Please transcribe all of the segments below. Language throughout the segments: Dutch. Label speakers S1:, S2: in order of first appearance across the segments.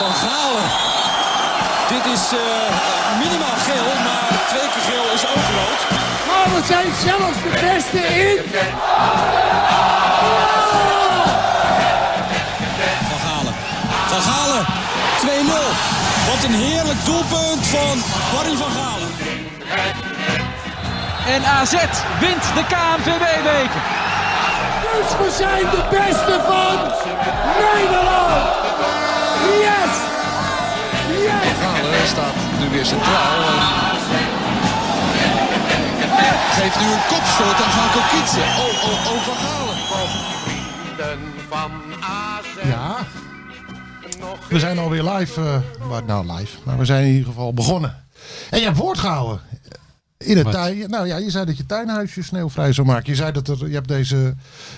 S1: Van Galen. Dit is uh, minimaal geel, maar twee keer geel is ook rood.
S2: Maar we zijn zelfs de beste in.
S1: Van Galen. Van Galen. 2-0. Wat een heerlijk doelpunt van Barry van Galen.
S3: En AZ wint de KNVB-beker.
S2: Dus we zijn de beste van Nederland. Yes! Yes!
S4: Galen staat nu weer centraal. En geeft nu een kopstoot aan Van Kokitsen. Oh, oh, oh, Van Galen.
S5: Ja. We zijn alweer live. eh, maar, nou, live. Maar we zijn in ieder geval begonnen. En je hebt woord gehouden. In het tuin. Nou ja, je zei dat je tuinhuisje sneeuwvrij zou maken. Je zei dat er, je hebt deze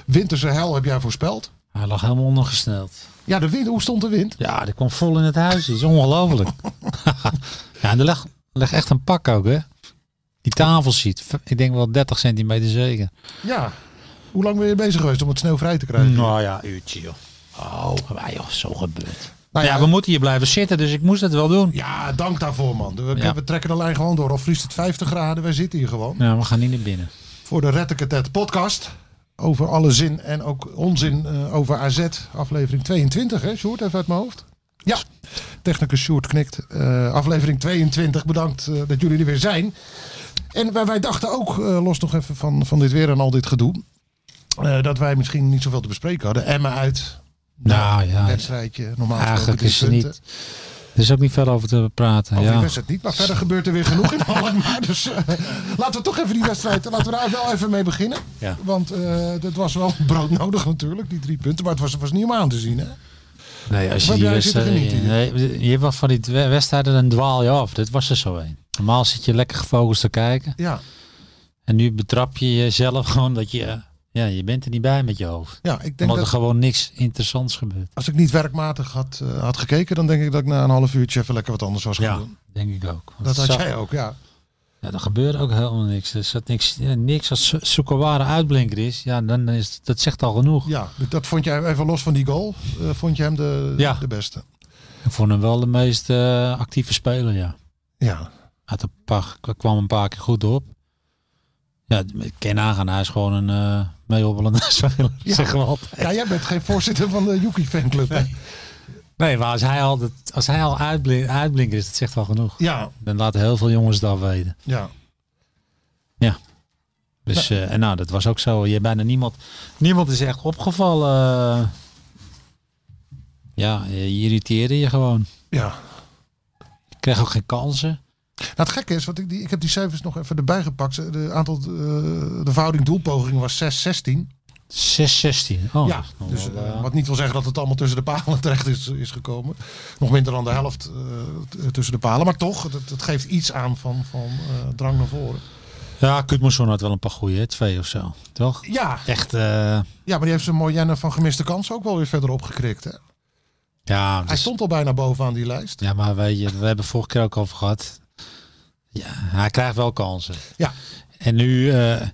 S5: winterse hel heb jij voorspeld.
S6: Hij lag helemaal ondergesneld.
S5: Ja, de wind. Hoe stond de wind?
S6: Ja, die kwam vol in het huis. Dat is ongelooflijk. ja, en er lag, lag echt een pak ook, hè. Die tafel ziet. Ik denk wel 30 centimeter zeker.
S5: Ja. Hoe lang ben je bezig geweest om het sneeuwvrij te krijgen?
S6: Nou ja, uurtje, joh. Oh, maar joh, zo gebeurt.
S5: Nou
S6: ja, we moeten hier blijven zitten, dus ik moest het wel doen.
S5: Ja, dank daarvoor, man. We,
S6: Ja.
S5: we trekken de lijn gewoon door. Of vriest het 50 graden, wij zitten hier gewoon.
S6: Nou, we gaan niet naar binnen.
S5: Voor de Rettekatet podcast. Over alle zin en ook onzin eh, over AZ. Aflevering 22, hè, Sjoerd? Even uit mijn hoofd. Ja, technicus Sjoerd knikt. Eh, aflevering 22, bedankt eh, dat jullie er weer zijn. En wij, wij dachten ook, eh, los nog even van, van dit weer en al dit gedoe... eh, dat wij misschien niet zoveel te bespreken hadden. Emma uit,
S6: Nou ja,
S5: wedstrijdje, normaal gesproken
S6: eigenlijk
S5: drie
S6: is er
S5: punten.
S6: niet... Er is ook niet veel over te praten,
S5: Over die
S6: ja.
S5: wedstrijd niet, maar verder gebeurt er weer genoeg in Alkmaar. Dus eh, laten we toch even die wedstrijd, eh, laten we daar wel even mee beginnen.
S6: Ja.
S5: Want eh, dat was wel broodnodig natuurlijk, die drie punten. Maar het was, was niet om aan te zien, hè?
S6: Nee, als je
S5: Waar
S6: die
S5: blijf je te
S6: wedstrijd...
S5: genieten
S6: Nee, je hebt wel van die we- wedstrijden, dan dwaal je af. Dit was er zo een. Normaal zit je lekker gefocust te kijken.
S5: Ja,
S6: En nu betrap je jezelf gewoon dat je... eh, Ja, je bent er niet bij met je hoofd.
S5: ja ik denk
S6: Omdat er
S5: dat
S6: gewoon niks interessants gebeurt.
S5: als ik niet werkmatig had, eh, had gekeken, dan denk ik dat ik na een half uurtje even lekker wat anders was gaan doen.
S6: denk ik ook. Want
S5: Dat had
S6: zo-
S5: jij ook, ja.
S6: Ja, er gebeurde ook helemaal niks. Er zat niks, ja, niks als Su- Sukawara uitblinker is. Ja, dan is het- dat zegt al genoeg.
S5: ja. Dat vond jij even los van die goal, eh, vond je hem de,
S6: Ja.
S5: de beste.
S6: Ik vond hem wel de meest eh, actieve speler, ja.
S5: Ja,
S6: Had een paar, kwam een paar keer goed op. Ja, ik ken aangaan. Hij is gewoon een eh meehobbelende speler,
S5: Ja.
S6: zeggen we altijd.
S5: ja jij bent geen voorzitter van de Yuki fanclub. hè?
S6: Nee, maar als hij al, dat, als hij al uitblin- uitblinker is, dat zegt al genoeg.
S5: Ja,
S6: Dan laten heel veel jongens dat weten.
S5: ja.
S6: Dus, eh, en nou, dat was ook zo. Je bijna niemand, niemand is echt opgevallen. eh. ja, je, je irriteerde je gewoon.
S5: ja.
S6: Je kreeg ook geen kansen.
S5: Nou, het gekke is, want ik, die, ik heb die cijfers nog even erbij gepakt. De, aantal, eh, de verhouding doelpogingen was
S6: 6-16.
S5: 6-16.
S6: Oh,
S5: ja,
S6: dat is nog
S5: dus,
S6: wel,
S5: eh,
S6: eh,
S5: wat niet wil zeggen dat het allemaal tussen de palen terecht is, is gekomen. Nog minder dan de helft eh, t- tussen de palen. Maar toch, dat, dat geeft iets aan van, van eh, drang naar voren.
S6: eh, ja, Kutmoesson had wel een paar goeie, hè, twee of zo. Toch?
S5: Ja,
S6: Echt, eh,
S5: ja maar die heeft zijn Moyenne van gemiste kansen ook wel weer verder opgekrikt. Hè?
S6: ja,
S5: Hij
S6: dus-
S5: stond al bijna bovenaan die lijst.
S6: ja, maar weet je, we hebben vorige keer ook over gehad. Ja, hij krijgt wel kansen.
S5: Ja.
S6: En nu, eh,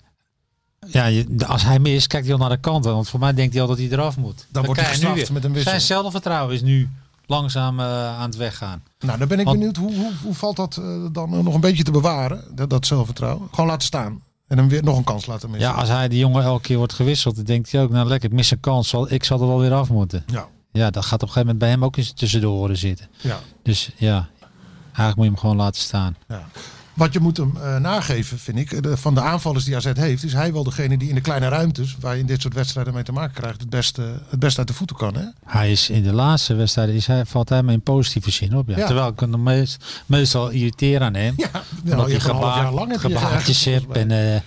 S6: ja, je- de- als hij mist, kijkt hij al naar de kant. Want voor mij denkt hij al dat hij eraf moet. Dan,
S5: wordt hij
S6: krijg je nu
S5: gestraft
S6: weer-
S5: met een wissel.
S6: Zijn zelfvertrouwen is nu langzaam eh, aan het weggaan.
S5: Nou, dan ben ik
S6: Want-
S5: benieuwd, hoe, hoe, hoe valt dat eh, dan nog een beetje te bewaren? Dat, dat zelfvertrouwen. Gewoon laten staan. En hem weer nog een kans laten missen.
S6: Ja, als hij die jongen elke keer wordt gewisseld, dan denkt hij ook, nou lekker, ik mis een kans. zal- Ik zal er wel weer af moeten.
S5: ja.
S6: Ja, dat gaat op een gegeven moment bij hem ook eens tussen de oren zitten.
S5: ja.
S6: Dus ja, eigenlijk moet je hem gewoon laten staan.
S5: Wat je moet hem eh, nageven, vind ik, de- van de aanvallers die AZ heeft, is hij wel degene die in de kleine ruimtes, waar je in dit soort wedstrijden mee te maken krijgt, het beste, het beste uit de voeten kan. Hè?
S6: Hij is in de laatste wedstrijd, is hij, valt hij me in positieve zin op. Ja.
S5: Ja.
S6: Terwijl ik hem meest, meestal irriteer aan hem.
S5: Ja,
S6: Omdat
S5: nou, je
S6: hij
S5: hebt een half
S6: gebaar,
S5: jaar lang heb je
S6: gebaartjes
S5: eigenlijk,
S6: hebt
S5: volgens
S6: en eh,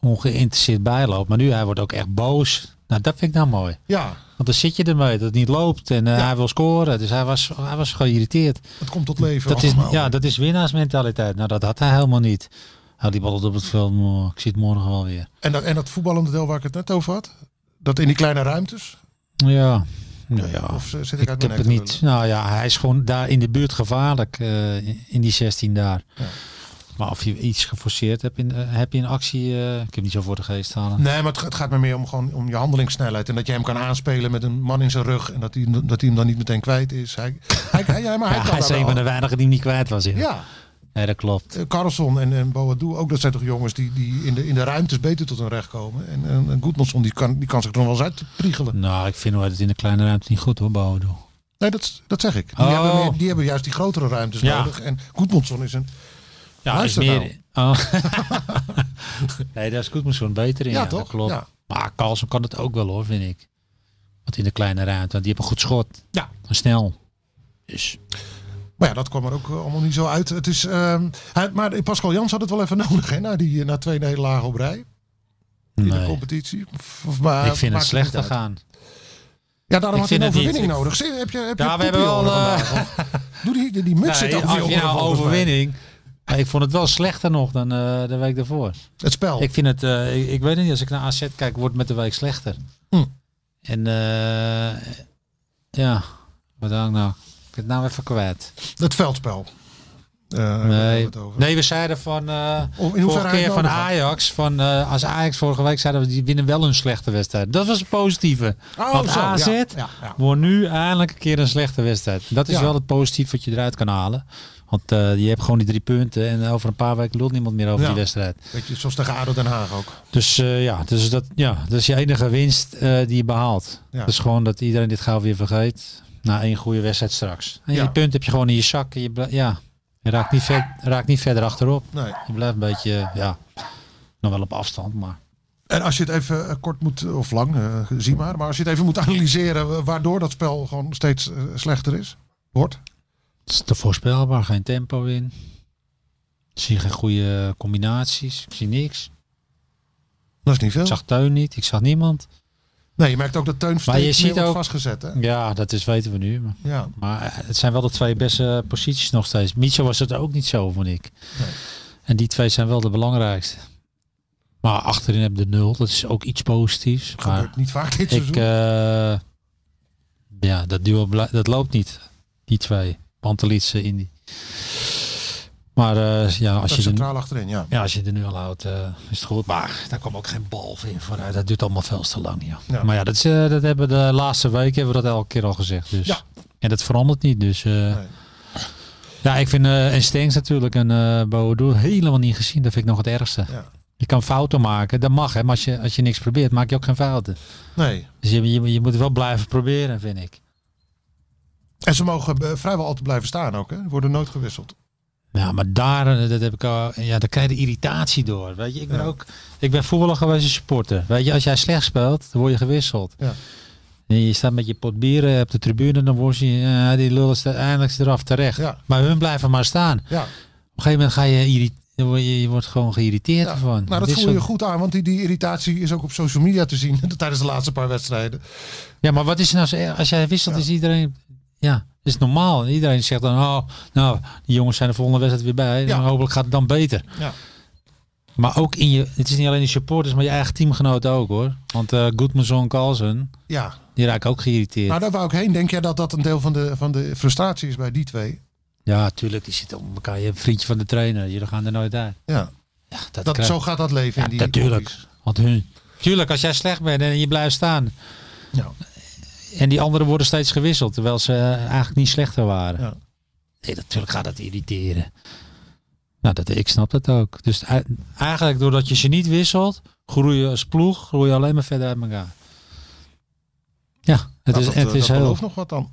S6: ongeïnteresseerd bijloopt. Maar nu, hij wordt ook echt boos. Nou, dat vind ik nou mooi.
S5: mij. Ja,
S6: Want dan zit je ermee dat het niet loopt en eh,
S5: Ja.
S6: hij wil scoren. Dus hij was, hij was geïrriteerd.
S5: het komt tot leven.
S6: Dat is,
S5: allemaal.
S6: ja, dat is winnaarsmentaliteit. Nou, dat had hij helemaal niet. Hou die bal op het veld. maar Ik zie het morgen wel weer.
S5: En, dat, en dat voetballende deel waar ik het net over had, dat in die kleine ruimtes,
S6: Ja. Nou ja.
S5: of eh, zit ik,
S6: Ik
S5: uit
S6: heb
S5: mijn
S6: het
S5: nek te
S6: niet. Nou ja, hij is gewoon daar in de buurt gevaarlijk. eh, in die 16 daar.
S5: Ja.
S6: Maar of je iets geforceerd hebt in, eh, heb je een actie. eh, ik heb niet zo voor de geest halen.
S5: Nee, maar het, ga- het gaat me meer om, gewoon, om je handelingssnelheid. En dat je hem kan aanspelen met een man in zijn rug. En dat hij, dat hij hem dan niet meteen kwijt is. Hij, hij Hij, hij, ja, maar Nou, hij
S6: Ja,
S5: kan
S6: hij is
S5: daar
S6: een van
S5: wel.
S6: de weinigen die hem niet kwijt was. Ja,
S5: Ja,
S6: Nee, dat klopt.
S5: eh, Carlson en, en Boadu, ook dat zijn toch jongens die, die in, de, in de ruimtes beter tot hun recht komen. En, en, en Gudmundsson, die kan, die kan zich er nog wel eens uitpriegelen.
S6: Nou, ik vind wel dat in de kleine ruimte niet goed hoor, Bodo.
S5: Nee, dat, dat zeg ik. Die,
S6: Oh.
S5: hebben meer- die hebben juist die grotere ruimtes
S6: Ja.
S5: nodig. En Gudmundsson is een...
S6: Ja,
S5: Luister
S6: is meer... Oh. nee, daar is Koetmansoen beter in.
S5: Ja,
S6: Ja,
S5: toch?
S6: Dat klopt.
S5: Ja.
S6: Maar Carlsen kan het ook wel hoor, vind ik. Want in de kleine ruimte, want die hebben een goed schot.
S5: Ja.
S6: En snel. Dus,
S5: Maar ja, dat kwam er ook eh, allemaal niet zo uit. Het is, ehm, hij, maar Pascal Jans had het wel even nodig, hè? Na, die, eh, na twee nederlagen op rij. In de
S6: nee.
S5: competitie. Of, maar,
S6: ik vind Eh,
S5: maakt
S6: het
S5: niet
S6: slechter
S5: uit.
S6: gaan.
S5: Ja, daarom
S6: Ik
S5: had hij een
S6: vind het niet.
S5: overwinning
S6: Ik-
S5: nodig. Zie, heb je, heb je
S6: Ja, we hebben
S5: poepie
S6: wel...
S5: horen
S6: eh,
S5: vandaag, of? Doe die, die, die muts
S6: nee,
S5: zit over je
S6: als je
S5: oren,
S6: nou
S5: volgens mij.
S6: overwinning... Maar ik vond het wel slechter nog dan eh, de week daarvoor.
S5: Het spel.
S6: Ik vind het, eh, ik, ik weet het niet, als ik naar AZ kijk, wordt het met de week slechter.
S5: Hm.
S6: En eh, ja, wat hou ik nou? Ik ben het nou even kwijt.
S5: Het veldspel. Eh, daar hebben we
S6: Nee,
S5: het over.
S6: nee we zeiden van, eh
S5: Of in hoeverre
S6: vorige
S5: hij
S6: keer
S5: het
S6: van
S5: nodig had.
S6: Ajax, van, eh, als Ajax vorige week zeiden we, die winnen wel een slechte wedstrijd. Dat was het positieve.
S5: Oh,
S6: Want
S5: zo, ja,
S6: AZ
S5: ja, ja.
S6: wordt nu eindelijk een keer een slechte wedstrijd. Dat is
S5: Ja.
S6: wel het positief wat je eruit kan halen. Want eh, je hebt gewoon die drie punten en over een paar weken lult niemand meer over
S5: Ja.
S6: die wedstrijd.
S5: Weet je, zoals tegen ADO Den Haag ook.
S6: Dus eh, ja, dus dat, ja, dat is je enige winst eh, die je behaalt.
S5: Ja.
S6: Dat is gewoon dat iedereen dit gauw weer vergeet. Na één goede wedstrijd straks. En
S5: Ja.
S6: je punt heb je gewoon in je zak. En je, bl- ja, je raakt, niet ver, raakt niet verder achterop.
S5: Nee.
S6: Je blijft een beetje, eh, ja, nog wel op afstand. Maar
S5: En als je het even eh, kort moet, of lang, eh, zie maar. Maar als je het even moet analyseren wa- waardoor dat spel gewoon steeds eh, slechter is. Wordt.
S6: het is te voorspelbaar. Geen tempo in. Ik zie geen goede combinaties. Ik zie niks.
S5: Dat is niet veel.
S6: Ik zag Teun niet. Ik zag niemand.
S5: Nee, je merkt ook dat Teun steeds
S6: je
S5: meer
S6: ziet
S5: wordt
S6: ook-
S5: vastgezet. Hè?
S6: Ja, dat is weten we nu. Maar
S5: Ja.
S6: Maar eh, het zijn wel de twee beste posities nog steeds. Micho was het ook niet zo, vond ik.
S5: Nee.
S6: En die twee zijn wel de belangrijkste. Maar achterin heb je de nul. Dat is ook iets positiefs. Maar
S5: Gebeurt niet vaak dit
S6: ik,
S5: seizoen.
S6: eh, ja, dat duo blij- dat loopt niet. Die twee. Pantelitsen in die. Maar eh, ja, als je,
S5: dat
S6: de,
S5: centraal achterin, ja.
S6: ja, als je er nu al houdt, eh, is het goed. Maar daar kwam ook geen bal in vooruit. Dat duurt allemaal veel te lang. Ja.
S5: Ja.
S6: Maar ja, dat, is, eh, dat hebben we de laatste week hebben we dat elke keer al gezegd. Dus.
S5: Ja.
S6: En dat verandert niet. Dus eh,
S5: Nee.
S6: ja, ik vind eh en Stengs natuurlijk en eh Boadu helemaal niet gezien. Dat vind ik nog het ergste.
S5: Ja.
S6: Je kan fouten maken, dat mag. Hè, maar als je, als je niks probeert, maak je ook geen fouten.
S5: nee.
S6: Dus je, je, je moet wel blijven proberen, vind ik.
S5: En ze mogen eh, vrijwel altijd blijven staan ook. Hè? Die Worden nooit gewisseld.
S6: Ja, maar daar, eh, dat heb ik al, ja, daar krijg je de irritatie door. Weet je, ik ben
S5: Ja.
S6: ook, ik ben voetballer geweest en supporter. Weet je, als jij slecht speelt, dan word je gewisseld.
S5: Ja.
S6: En je staat met je pot bieren op de tribune, dan word je, ja, die lullen staan eindelijk eraf terecht.
S5: Ja.
S6: Maar hun blijven maar staan. Op
S5: Ja.
S6: een gegeven moment ga je, irri- dan word je, je wordt gewoon geïrriteerd
S5: Ja,
S6: ervan.
S5: Nou, dat
S6: Dit
S5: voel je
S6: soort-
S5: goed aan, want die, die irritatie is ook op social media te zien tijdens de laatste paar wedstrijden.
S6: Ja, maar wat is er nou zo erg? Als jij wisselt, is iedereen, ja, is normaal. Iedereen zegt dan, oh, nou, die jongens zijn de volgende wedstrijd weer bij.
S5: Ja.
S6: En hopelijk gaat het dan beter.
S5: Ja.
S6: Maar ook in je, het is niet alleen de supporters, maar je eigen teamgenoten ook hoor. Want eh Goodmanson, Carlsen,
S5: Ja,
S6: die raken ook geïrriteerd.
S5: nou daar wou ik heen. Denk jij dat dat een deel van de, van de frustratie is bij die twee?
S6: ja, tuurlijk, die zitten om elkaar. Je hebt een vriendje van de trainer, jullie gaan er nooit uit.
S5: Ja,
S6: Ja, dat,
S5: dat,
S6: krijg-
S5: zo gaat dat leven
S6: ja,
S5: in die
S6: natuurlijk.
S5: kopjes.
S6: Want hun, tuurlijk, als jij slecht bent en je blijft staan.
S5: Ja.
S6: En die anderen worden steeds gewisseld, terwijl ze eh, eigenlijk niet slechter waren.
S5: Ja.
S6: Nee, natuurlijk gaat dat irriteren. Nou, dat, ik snap dat ook. Dus ei- eigenlijk doordat je ze niet wisselt, groei je als ploeg, groei je alleen maar verder uit elkaar. Ja, het
S5: Nou,
S6: is,
S5: dat,
S6: het
S5: eh,
S6: is
S5: dat
S6: heel...
S5: belooft nog wat dan.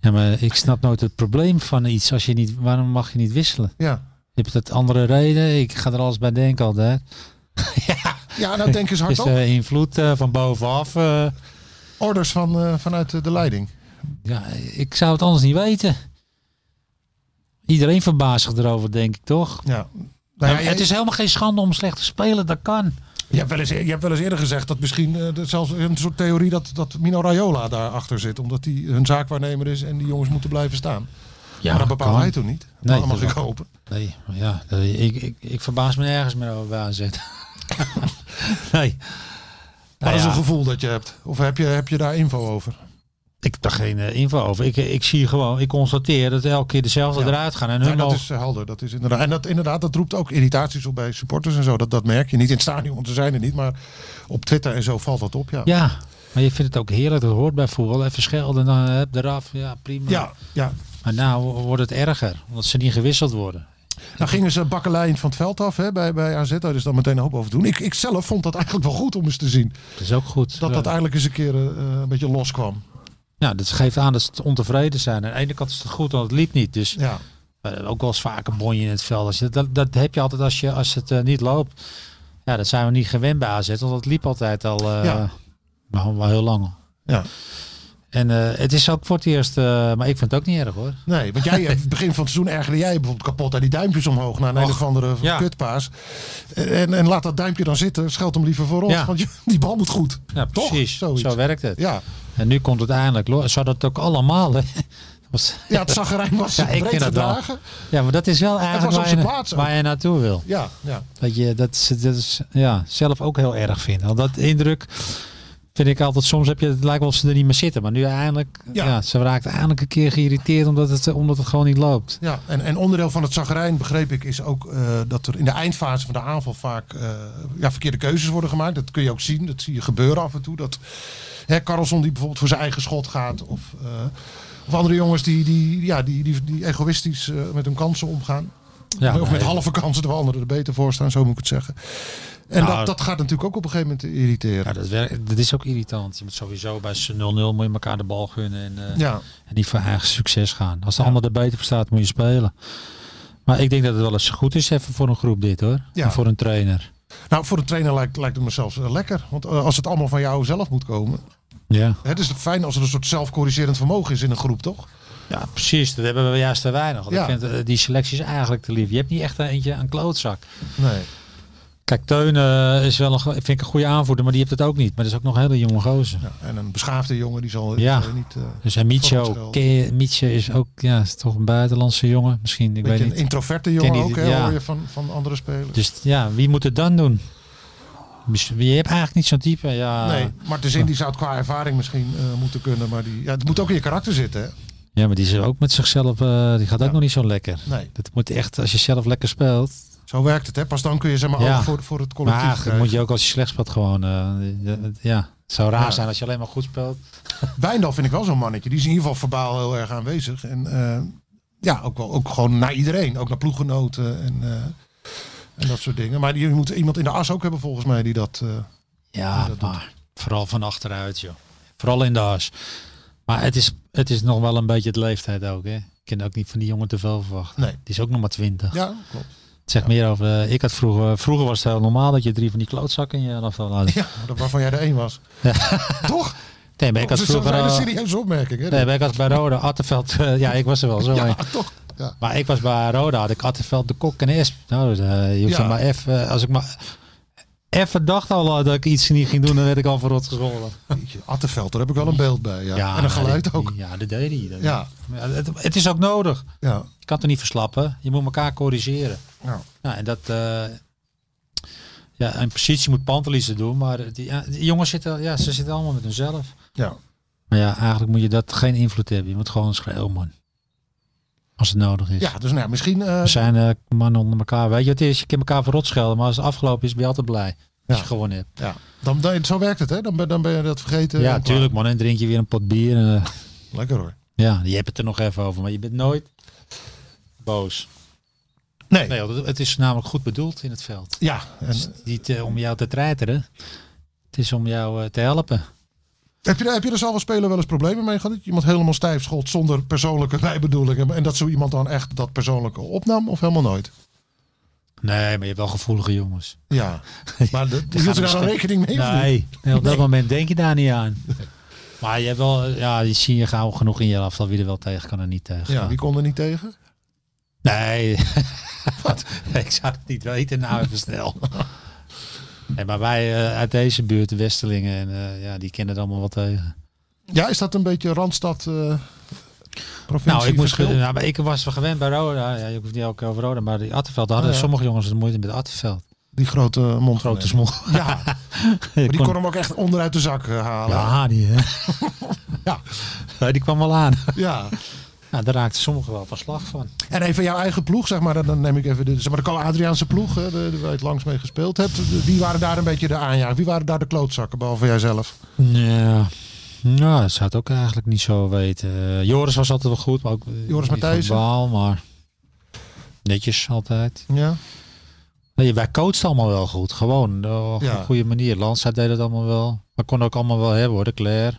S6: Ja, maar ik snap nooit het probleem van iets als je niet... Waarom mag je niet wisselen?
S5: Ja.
S6: Je hebt dat andere reden. Ik ga er alles bij denken altijd.
S5: ja, nou denk eens
S6: Het is
S5: hardop.
S6: de invloed eh, van bovenaf. eh.
S5: Orders van, eh, vanuit eh, de leiding.
S6: ja, ik zou het anders niet weten. Iedereen verbaast zich erover, denk ik, toch?
S5: Ja. Nou, ja,
S6: En
S5: jij-
S6: het is helemaal geen schande om slecht te spelen, dat kan.
S5: je, hebt wel eens, e-, je hebt wel eens eerder gezegd dat misschien eh, dat zelfs een soort theorie dat, dat Mino Raiola daarachter zit. Omdat hij hun zaakwaarnemer is en die jongens moeten blijven staan.
S6: Ja,
S5: maar dat bepaalt hij toen niet.
S6: Nee,
S5: dat mag
S6: dat-
S5: ik hopen.
S6: Nee, maar ja, dat- ik, ik, ik verbaas me nergens meer over bij AZ. nee.
S5: Maar
S6: Nou
S5: dat is
S6: ja,
S5: een gevoel dat je hebt. Of heb je, heb je daar info over?
S6: ik heb daar geen eh, info over. Ik, ik zie gewoon, ik constateer dat elke keer dezelfelde
S5: Ja.
S6: eruit gaan. En hun
S5: Ja, dat
S6: mogen-
S5: is eh, helder. Dat is inderdaad. En dat, inderdaad, dat roept ook irritaties op bij supporters en zo. Dat, dat merk je niet in het stadion, want ze zijn er niet. Maar op Twitter en zo valt dat op. Ja.
S6: Ja, Maar je vindt het ook heerlijk, dat hoort bij voetbal. Even schelden, dan heb eraf. Ja, prima.
S5: Ja, ja.
S6: Maar nou wordt het erger, omdat ze niet gewisseld worden.
S5: Nou gingen ze bakkeleien van het veld af hè, bij, bij AZ. Daar is dan meteen een hoop over te doen. Ik, ik zelf vond dat eigenlijk wel goed om eens te zien.
S6: Dat is ook goed.
S5: Dat dat
S6: Ja.
S5: eigenlijk eens een keer eh, een beetje loskwam.
S6: Nou, dat geeft aan dat ze ontevreden zijn. Aan de ene kant is het goed, want het liep niet. Dus
S5: Ja.
S6: eh, ook wel eens vaker bonje in het veld. Als je, dat, dat heb je altijd als, je, als het eh, niet loopt. Ja, dat zijn we niet gewend bij AZ, want dat liep altijd al eh,
S5: Ja.
S6: nou, wel heel lang.
S5: Ja.
S6: En eh, het is ook voor het eerst, eh, maar ik vind het ook niet erg hoor.
S5: Nee, want jij, het begin van het seizoen ergerde jij bijvoorbeeld kapot aan die duimpjes omhoog naar een,
S6: Och,
S5: een of andere
S6: ja.
S5: kutpaas. En, en laat dat duimpje dan zitten, scheld hem liever voor ons,
S6: Ja.
S5: want je- die bal moet goed.
S6: Ja,
S5: Toch?
S6: precies.
S5: Zoiets.
S6: Zo werkt het.
S5: Ja,
S6: En nu komt het eindelijk. lo- Ze hadden het ook allemaal. Hè? Was-
S5: ja het zagrijn was
S6: Ja, ik
S5: breed
S6: vind dat wel.
S5: gedragen.
S6: ja, maar dat is wel eigenlijk
S5: was op
S6: waar, je,
S5: zijn
S6: na-
S5: plaats ook.
S6: waar je naartoe wil.
S5: Ja, ja.
S6: Dat je dat, ze- dat is, ja, zelf ook heel erg vindt. Want dat indruk vind ik altijd. Soms heb je het lijkt wel of ze er niet meer zitten. Maar nu eindelijk.
S5: Ja.
S6: Ja. ze raakt eindelijk een keer geïrriteerd omdat het, eh, omdat het gewoon niet loopt.
S5: ja. En, en onderdeel van het zagrijn, begreep ik, is ook eh, dat er in de eindfase van de aanval vaak eh, ja, verkeerde keuzes worden gemaakt. Dat kun je ook zien, dat zie je gebeuren af en toe. Dat hè, Carlson die bijvoorbeeld voor zijn eigen schot gaat of, eh, of andere jongens die, die, ja, die, die, die egoïstisch eh, met hun kansen omgaan.
S6: Ja,
S5: of met
S6: nee.
S5: halve kansen, terwijl anderen er beter voor staan, zo moet ik het zeggen. En
S6: Nou,
S5: dat, dat gaat natuurlijk ook op een gegeven moment
S6: Ja,
S5: irriteren.
S6: dat, werkt, dat is ook irritant. Je moet sowieso bij z'n 0-0 moet je elkaar de bal gunnen. En, eh,
S5: Ja,
S6: En niet voor eigen succes gaan. Als de ander er beter voor staat, moet je spelen. Maar ik denk dat het wel eens goed is even voor een groep dit hoor.
S5: Ja.
S6: En voor een trainer.
S5: nou voor een trainer lijkt, lijkt het me zelfs eh, lekker. Want eh, als het allemaal van jou zelf moet komen.
S6: Ja.
S5: hè, Het is fijn als er een soort zelfcorrigerend vermogen is in een groep, toch?
S6: ja, precies. Dat hebben we juist te weinig. Want
S5: Ja.
S6: Ik vind eh, die selecties eigenlijk te lief. Je hebt niet echt een eentje een klootzak.
S5: Nee.
S6: Kijk, Teun eh, is wel een, go- vind ik een goede aanvoerder, maar die hebt het ook niet. Maar dat is ook nog een hele jonge gozer.
S5: Ja, en een beschaafde jongen die zal
S6: Ja.
S5: eh, niet. eh,
S6: Dus en
S5: Voor
S6: Micho,
S5: het
S6: Ke- Micho is ook ja, is toch een buitenlandse jongen. Misschien, ik
S5: een beetje
S6: weet
S5: een
S6: niet.
S5: introverte jongen
S6: niet-
S5: ook, hè,
S6: ja.
S5: hoor je van, van andere spelers.
S6: Dus ja, wie moet het dan doen? Dus Je hebt eigenlijk niet zo'n type. Ja,
S5: Nee, maar de zin die zou het qua ervaring misschien eh, moeten kunnen. Maar die, ja, het moet ook in je karakter zitten. Hè?
S6: Ja, maar die is ook met zichzelf, eh, die gaat ook nog niet zo lekker.
S5: Nee,
S6: Dat moet echt, als je zelf lekker speelt.
S5: zo werkt het. Hè? Pas dan kun je zeg maar
S6: Ja.
S5: ook voor, voor het collectief.
S6: Maar dan
S5: krijgen.
S6: moet je ook als je slecht speelt gewoon, eh, ja. Het zou raar
S5: Ja.
S6: zijn als je alleen maar goed speelt.
S5: Wijndal vind ik wel zo'n mannetje. Die is in ieder geval verbaal heel erg aanwezig. En eh, ja, ook, wel, ook gewoon naar iedereen. Ook naar ploeggenoten en, eh, en dat soort dingen. Maar die moet iemand in de as ook hebben volgens mij die dat... eh,
S6: Ja,
S5: dat doet-
S6: maar vooral van achteruit, joh. Vooral in de as. Maar het is, het is nog wel een beetje het leeftijd ook, hè. Ik kan ook niet van die jongen te veel verwachten.
S5: Nee.
S6: Die is ook nog maar twintig.
S5: ja, klopt.
S6: Het zegt meer over, eh, ik had vroeger, vroeger was het heel normaal dat je drie van die klootzakken in je elftal had. Nou,
S5: Ja, dat- waarvan jij de één was. Toch?
S6: Nee, maar ik
S5: dat
S6: had
S5: is een
S6: vroeger...
S5: vrij
S6: al-
S5: serieuze opmerking. Hè?
S6: Nee, maar ik had bij Rode, Attenveld, eh, ja, ik was er wel zo
S5: ja,
S6: een.
S5: toch? Ja.
S6: Maar ik was bij Roda, had ik Attenveld, de Kok en Esp. Nou, eh, je hoeft
S5: Ja.
S6: er maar even, eh, als ik maar even dacht al eh, dat ik iets niet ging doen, dan werd ik al verrot gescholden.
S5: Jeetje, Attenveld, daar heb ik wel een beeld bij. Ja. en een
S6: nou,
S5: geluid
S6: die-
S5: ook.
S6: die- Ja, dat deed hij. Dat-
S5: Ja,
S6: Ja, het, het is ook nodig.
S5: ja.
S6: Je kan het niet verslappen. Je moet elkaar corrigeren.
S5: Ja.
S6: Nou, en dat, eh, ja, in positie moet Pantelis het doen, maar die, ja, die jongens zitten, ja, ze zitten allemaal met hunzelf.
S5: ja.
S6: Maar ja, eigenlijk moet je dat geen invloed hebben. Je moet gewoon schreeuwen, man. Als het nodig is.
S5: ja dus nou, ja, misschien... eh,
S6: We zijn eh, mannen onder elkaar. Weet je, wat het is, je kan elkaar verrot schelden, maar als het afgelopen is, ben je altijd blij. Als
S5: Ja.
S6: je gewonnen hebt.
S5: ja. dan, dan, zo werkt het, hè? Dan ben, dan ben je dat vergeten.
S6: ja,
S5: Dan-
S6: tuurlijk man. En drink je weer een pot bier. En, eh,
S5: Lekker hoor.
S6: ja, je hebt het er nog even over, maar je bent nooit boos.
S5: Nee,
S6: Nee, want het- het is namelijk goed bedoeld in het veld.
S5: ja. En,
S6: Het is niet eh, om jou te treiteren. Het is om jou eh, te helpen.
S5: Heb je, heb je er zelf als speler wel eens problemen mee gehad? Dat je iemand helemaal stijf schot zonder persoonlijke bijbedoelingen. En dat zo iemand dan echt dat persoonlijke opnam of helemaal nooit?
S6: Nee, maar je hebt wel gevoelige jongens.
S5: Ja. Maar de,
S6: gaan
S5: hield je daar
S6: misschien-
S5: dan rekening mee? of niet?
S6: Nee, nee, op dat
S5: Nee.
S6: moment denk je daar niet aan. Maar je hebt wel, eh, ja, je ziet je gauw genoeg in je afval wie er wel tegen kan en niet tegen.
S5: Ja,
S6: kan.
S5: die kon er niet tegen.
S6: Nee. ik zou het niet weten, nou even snel. Nee, maar wij eh, uit deze buurt, de Westelingen, en, eh, ja, die kennen er allemaal wat tegen.
S5: Ja, is dat een beetje Randstad eh provincie
S6: Nou, ik, moest,
S5: verschil?
S6: ge- nou, maar ik was wel gewend bij Roda. Ja, je hoeft niet elke keer over Roda, maar die Attenveld, daar hadden
S5: Oh, ja.
S6: sommige jongens het moeite met Attenveld.
S5: Die grote mond.
S6: Grote
S5: Nee.
S6: smol.
S5: Ja, maar die kon hem ook echt onderuit de zak eh, halen.
S6: Ja, die, hè? ja. die kwam wel aan.
S5: Ja.
S6: Nou, daar raakten sommigen wel van slag van.
S5: En even jouw eigen ploeg, zeg maar. Dan neem ik even de, zeg maar, de Adriaanse ploeg, hè, de, de, waar je het langs mee gespeeld hebt. De- Wie waren daar een beetje de aanjager? Wie waren daar de klootzakken, behalve jijzelf?
S6: Ja. Nou, dat zou het ook eigenlijk niet zo weten. Eh, Joris was altijd wel goed, maar ook eh,
S5: Joris
S6: die van
S5: Matthijssen.
S6: Baal, maar netjes altijd.
S5: Ja.
S6: Nee, wij coachten allemaal wel goed, gewoon eh, op
S5: Ja.
S6: een goede manier. Lansa deed het allemaal wel, maar kon ook allemaal wel hebben hoor, de Claire.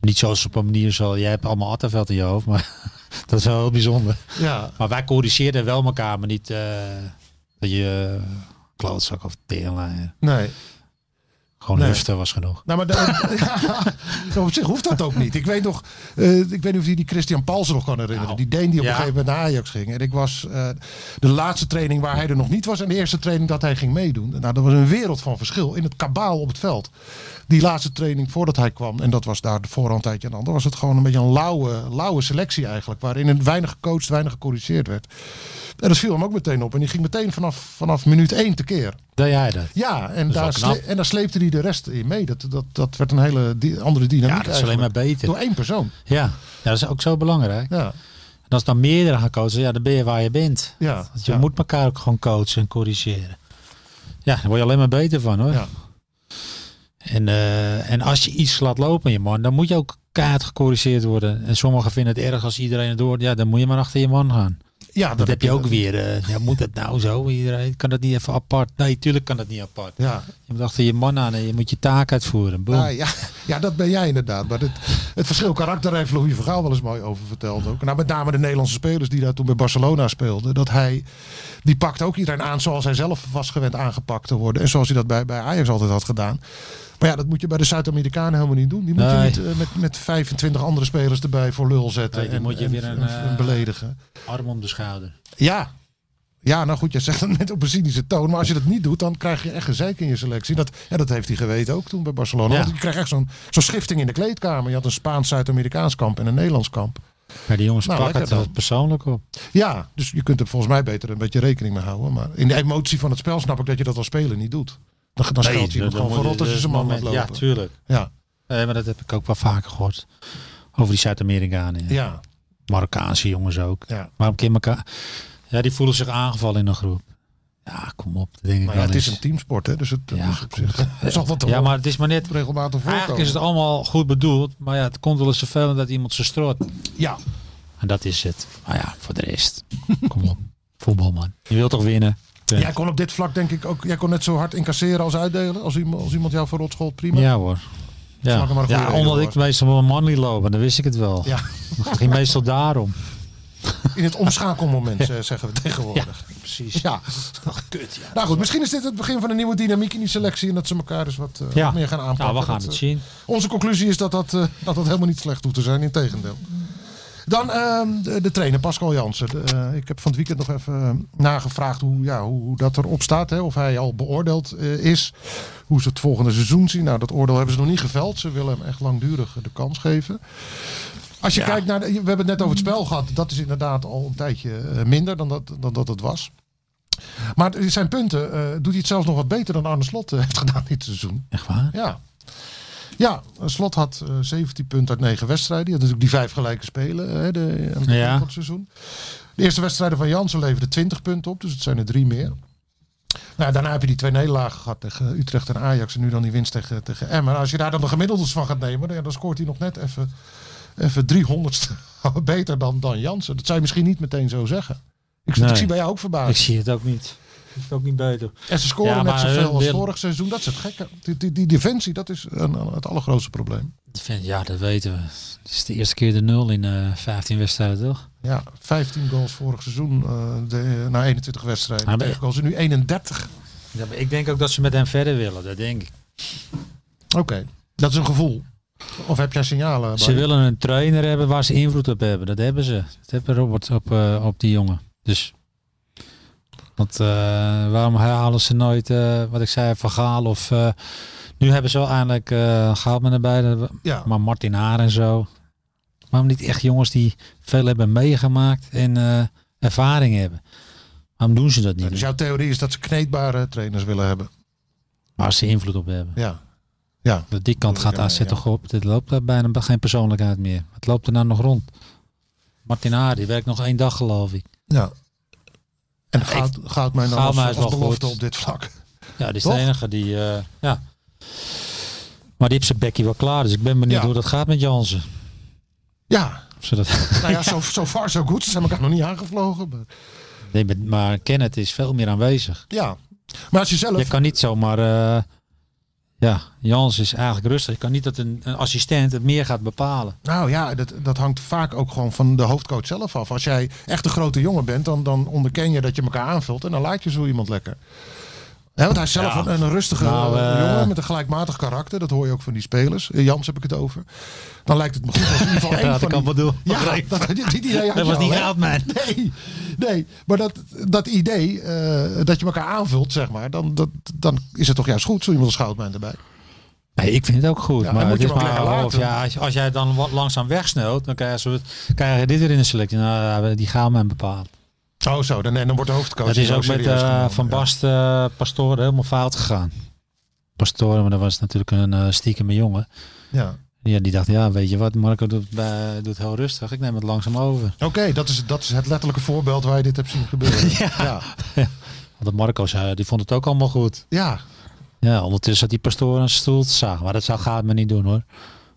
S6: Niet zoals op een manier zo, jij hebt allemaal Attenveld in je hoofd, maar dat is wel heel bijzonder.
S5: Ja.
S6: Maar wij corrigeerden wel elkaar, maar niet eh, dat je eh, klootzak of teerlijn.
S5: Nee.
S6: Gewoon
S5: Nee.
S6: heftig was genoeg.
S5: Nou, maar de- ja, op zich hoeft dat ook niet. Ik weet nog, eh, ik weet niet of je die Christian Paulsen nog kan herinneren.
S6: Nou,
S5: die Deen die op
S6: ja.
S5: een gegeven moment naar Ajax ging. En ik was eh, de laatste training waar hij er nog niet was. En de eerste training dat hij ging meedoen. Nou, dat was een wereld van verschil in het kabaal op het veld. Die laatste training voordat hij kwam. En dat was daar de voorhand tijdje aan de ander. Was het gewoon een beetje een lauwe, lauwe selectie eigenlijk. Waarin er weinig gecoacht, weinig gecorrigeerd werd. En dat viel hem ook meteen op. En die ging meteen vanaf, vanaf minuut één tekeer.
S6: Deed jij dat?
S5: Ja, en,
S6: wel
S5: daar,
S6: knap.
S5: sle- en daar sleepte hij de rest in mee. Dat, dat, dat werd een hele di- andere dynamiek.
S6: Ja, dat is alleen
S5: eigenlijk.
S6: maar beter.
S5: Door één persoon.
S6: Ja. ja, dat is ook zo belangrijk.
S5: Ja,
S6: En als dan meerdere gaan coachen, ja, dan ben je waar je bent.
S5: ja,
S6: Want je
S5: ja.
S6: moet elkaar ook gewoon coachen en corrigeren. Ja, daar word je alleen maar beter van hoor.
S5: Ja.
S6: En, eh, en als je iets laat lopen in je man, dan moet je ook kaart gecorrigeerd worden. En sommigen vinden het erg als iedereen het door. Ja, dan moet je maar achter je man gaan.
S5: ja,
S6: Dat, heb je ook weer. eh, ja, moet dat nou zo? Iedereen kan dat niet even apart. Nee, tuurlijk kan dat niet apart.
S5: Ja,
S6: Je moet achter je man aan en je moet je taak uitvoeren. Boom.
S5: ah, ja, ja, dat ben jij inderdaad. Maar het, het verschil karakter heeft Louis Vergaal wel eens mooi over verteld ook. Nou, met name de Nederlandse spelers die daar toen bij Barcelona speelden. Dat hij, die pakt ook iedereen aan zoals hij zelf was gewend aangepakt te worden. En zoals hij dat bij, bij Ajax altijd had gedaan. Maar ja, dat moet je bij de Zuid-Amerikanen helemaal niet doen. Die moet je
S6: Nee.
S5: niet eh, met, met 25 andere spelers erbij voor lul zetten.
S6: Nee, die
S5: en,
S6: moet je
S5: en-
S6: weer een,
S5: en- en
S6: eh,
S5: beledigen.
S6: Arm om de schouder.
S5: Ja. Ja, nou goed, jij zegt dat net op een cynische toon. Maar als je dat niet doet, dan krijg je echt gezeik in je selectie. Dat, ja, dat heeft hij geweten ook toen bij Barcelona.
S6: Ja.
S5: Want je krijgt echt zo'n zo'n schifting in de kleedkamer. Je had een Spaans-Zuid-Amerikaans kamp en een Nederlands kamp.
S6: Maar die jongens
S5: Nou,
S6: pakken het
S5: lekker
S6: wel
S5: dan.
S6: persoonlijk op.
S5: Ja, dus je kunt er volgens mij beter een beetje rekening mee houden. Maar in de emotie van het spel snap ik dat je dat als speler niet doet. Dan, dan
S6: Nee,
S5: stelt je
S6: dat-
S5: iemand
S6: dat
S5: gewoon
S6: moet-
S5: voorop als je
S6: dat
S5: zijn man laat
S6: moment-
S5: lopen. Ja,
S6: Ja, tuurlijk.
S5: ja,
S6: Nee, maar dat heb ik ook wel vaker gehoord. Over die Zuid-Amerikanen. ja.
S5: ja,
S6: Marokkaanse jongens ook.
S5: ja.
S6: Maar een keer elkaar. Ja, die voelen zich aangevallen in een groep. Ja, kom op. Dat denk ik
S5: Maar ja,
S6: wel
S5: het is
S6: eens.
S5: een teamsport, hè. Dus het
S6: Ja,
S5: is op zich... Het zal wat
S6: ja, maar het is maar net.
S5: regelmatig voorkomen.
S6: Eigenlijk is het allemaal goed bedoeld. Maar ja, het komt wel eens vervelend dat iemand ze strot.
S5: Ja,
S6: En dat is het. Maar ja, voor de rest. kom op. Voetbal, man. Je wilt toch winnen? Ja.
S5: Jij kon op dit vlak denk ik ook, jij kon net zo hard incasseren als uitdelen. Als iemand, als iemand jou voor rot school, prima.
S6: Ja hoor.
S5: Zolang er
S6: Ja,
S5: maar een goede
S6: ja
S5: reden
S6: omdat ik
S5: was.
S6: meestal wel man liet lopen, dan wist ik het wel.
S5: Ja,
S6: Het ging meestal daarom.
S5: in het omschakelmoment eh, zeggen we tegenwoordig.
S6: Precies.
S5: Ja.
S6: Kut, ja.
S5: Nou goed, misschien is dit het begin van een nieuwe dynamiek in die selectie. En dat ze elkaar dus wat eh,
S6: Ja.
S5: wat meer gaan aanpakken.
S6: Nou, we gaan
S5: Dat,
S6: het
S5: eh,
S6: zien.
S5: Onze conclusie is dat dat, eh, dat dat helemaal niet slecht hoeft te zijn. Integendeel. Dan ehm, de, de trainer Pascal Jansen. De, eh, ik heb van het weekend nog even eh, nagevraagd hoe, ja, hoe, hoe dat erop staat. Hè? Of hij al beoordeeld eh, is. Hoe ze het volgende seizoen zien. Nou, dat oordeel hebben ze nog niet geveld. Ze willen hem echt langdurig eh, de kans geven. Als je kijkt naar. De, we hebben het net over het spel gehad. Dat is inderdaad al een tijdje eh, minder dan dat, dan dat het was. Maar het zijn punten. eh, doet hij het zelfs nog wat beter dan Arne Slot eh, heeft gedaan dit seizoen?
S6: Echt waar?
S5: Ja. Ja, Slot had eh, 17 punten uit 9 wedstrijden. Die had natuurlijk die vijf gelijke spelen eh, hè, de, aan het begin
S6: Ja.
S5: van het seizoen. De eerste wedstrijden van Jansen leverden 20 punten op, dus het zijn er drie meer. Nou, daarna heb je die twee nederlagen gehad tegen Utrecht en Ajax en nu dan die winst tegen, tegen Emmen. Als je daar dan de gemiddeldes van gaat nemen, dan, ja, dan scoort hij nog net even, even 300 beter dan, dan Jansen. Dat zou je misschien niet meteen zo zeggen. Ik, ik
S6: Nee.
S5: zie bij jou ook
S6: Ik
S5: verbazing.
S6: zie het ook niet. Ik het ook niet beter.
S5: En ze scoren
S6: Ja,
S5: net
S6: maar
S5: zoveel
S6: hun
S5: als
S6: willen-
S5: vorig seizoen. Dat is het gekke. Die, die, die defensie, dat is een, het allergrootste probleem.
S6: Dat vind- Ja, dat weten we. Het is de eerste keer de nul in eh 15 wedstrijden, toch?
S5: Ja, 15 goals vorig seizoen eh, de, na 21 wedstrijden.
S6: Ah, maar-
S5: Tegen goals en nu 31.
S6: Ja, maar ik denk ook dat ze met hem verder willen, dat denk ik.
S5: Oké, dat is een gevoel. Of heb jij signalen?
S6: Ze
S5: Barry?
S6: willen een trainer hebben waar ze invloed op hebben. Dat hebben ze. Dat hebben Robert op, eh, op die jongen. Dus. Want eh, waarom halen ze nooit, eh, wat ik zei, Van Gaal of... eh, nu hebben ze wel eindelijk eh Goudman erbij, dat-
S5: Ja,
S6: maar Martin Haar en zo. Waarom niet echt jongens die veel hebben meegemaakt en eh, ervaring hebben? Waarom doen ze dat niet?
S5: dus jouw theorie is dat ze kneedbare trainers willen hebben.
S6: Waar ze invloed op hebben.
S5: Ja. Ja.
S6: Dat die kant gaat AZ toch op. Dit loopt daar bijna geen persoonlijkheid meer. Het loopt er nou nog rond. Martin Haar, die werkt nog één dag geloof ik.
S5: Ja. En gaat, gaat mij nou
S6: Gaalma
S5: als,
S6: is
S5: als
S6: wel
S5: belofte
S6: goed.
S5: op dit vlak.
S6: Ja, die is
S5: Toch?
S6: de enige die... eh, ja. Maar die heeft zijn bekkie wel klaar. Dus ik ben benieuwd
S5: Ja.
S6: hoe dat gaat met Jansen.
S5: Ja,
S6: Of ze dat...
S5: nou ja, zo zo far zo goed. Ze zijn elkaar nog niet aangevlogen. Maar,
S6: nee, maar- maar Kenneth is veel meer aanwezig.
S5: ja. Maar als je zelf...
S6: Je kan niet zomaar... eh, ja, Jans is eigenlijk rustig. Je kan niet dat een, een assistent het meer gaat bepalen.
S5: Nou ja, dat, dat hangt vaak ook gewoon van de hoofdcoach zelf af. Als jij echt een grote jongen bent, dan, dan onderken je dat je elkaar aanvult. En dan lijkt je zo iemand lekker. Hè, want hij is zelf een, een rustige
S6: Nou,
S5: eh,
S6: eh,
S5: jongen met een gelijkmatig karakter. Dat hoor je ook van die spelers. Eh, Jans heb ik het over. Dan lijkt het me goed als in ieder geval één
S6: dat
S5: van
S6: kan
S5: die-
S6: bedoel-
S5: Ja, dat, die, die, idee had
S6: Dat
S5: je
S6: was
S5: al,
S6: niet
S5: hè?
S6: Raadman.
S5: Nee, nee, maar dat, dat idee eh, dat je elkaar aanvult, zeg maar. Dan, dat, dan is het toch juist goed, zo iemand als Goudman erbij.
S6: Nee, ik vind het ook goed.
S5: Ja, dan
S6: maar
S5: moet
S6: het
S5: je
S6: is
S5: hem ook
S6: maar een
S5: lekker
S6: half
S5: laten.
S6: jaar. Als, als jij dan wat langzaam wegsneeuwt, dan krijg je, soort- krijg je dit weer in de selectie. Nou, ja, die gaan men bepaald.
S5: Oh zo, dan, en dan wordt de hoofdcoach...
S6: Dat is
S5: heel
S6: ook met
S5: serieus
S6: eh,
S5: genomen,
S6: Van
S5: ja.
S6: Bast eh Pastoor helemaal fout gegaan. Pastoor, maar dat was natuurlijk een eh stiekeme jongen.
S5: Ja.
S6: Ja, die dacht, ja, weet je wat, Marco doet, bij- doet heel rustig. Ik neem het langzaam over.
S5: Oké, dat, is, dat is het letterlijke voorbeeld waar je dit hebt zien gebeuren. ja. Ja.
S6: Want dat Marco zei, die vond het ook allemaal goed.
S5: ja.
S6: Ja, ondertussen zat die pastoor aan zijn stoel te zagen. Maar dat zou gaat me niet doen hoor.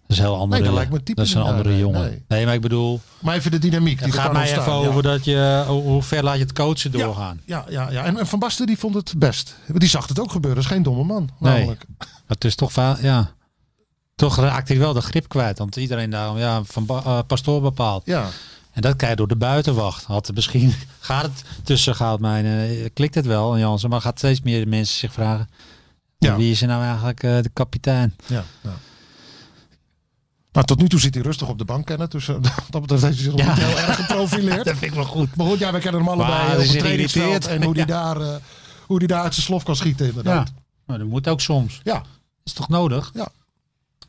S6: Dat is een heel andere.
S5: Nee, dat lijkt me typisch
S6: is een
S5: niet,
S6: andere
S5: nee,
S6: jongen.
S5: nee.
S6: Nee. maar ik bedoel,
S5: Maar even de dynamiek die
S6: het
S5: er
S6: gaat
S5: kan
S6: mij
S5: ontstaan.
S6: even
S5: ja.
S6: over dat je, eh, hoe hoe ver laat je het coachen
S5: Ja.
S6: doorgaan.
S5: Ja, ja, ja. En, en Van Basten die vond het best. Die zag het ook gebeuren. Dat is geen domme man.
S6: Nee.
S5: Namelijk.
S6: Maar het is toch va- ja. Toch raakt hij wel de grip kwijt. Want iedereen daarom, ja, van Ba- eh, pastoor bepaalt.
S5: Ja.
S6: En dat krijg je door de buitenwacht. Had er misschien gaat het tussen Goudmijn. eh, klikt het wel, Jansen. Maar gaat steeds meer mensen zich vragen.
S5: Ja.
S6: Wie is er nou eigenlijk eh, de kapitein?
S5: ja. ja. Maar tot nu toe zit hij rustig op de bank kennen. Dus eh, dat betreft heeft hij zich nog niet heel erg geprofileerd. dat vind ik wel goed. Maar goed, ja, we kennen hem allebei
S6: Maar
S5: eh,
S6: hij
S5: op
S6: is
S5: het trainingsveld.
S6: geïrriteerd.
S5: En hoe die daar, eh, hoe die daar uit zijn slof kan schieten inderdaad.
S6: Maar dat moet ook soms.
S5: Ja.
S6: Is toch nodig?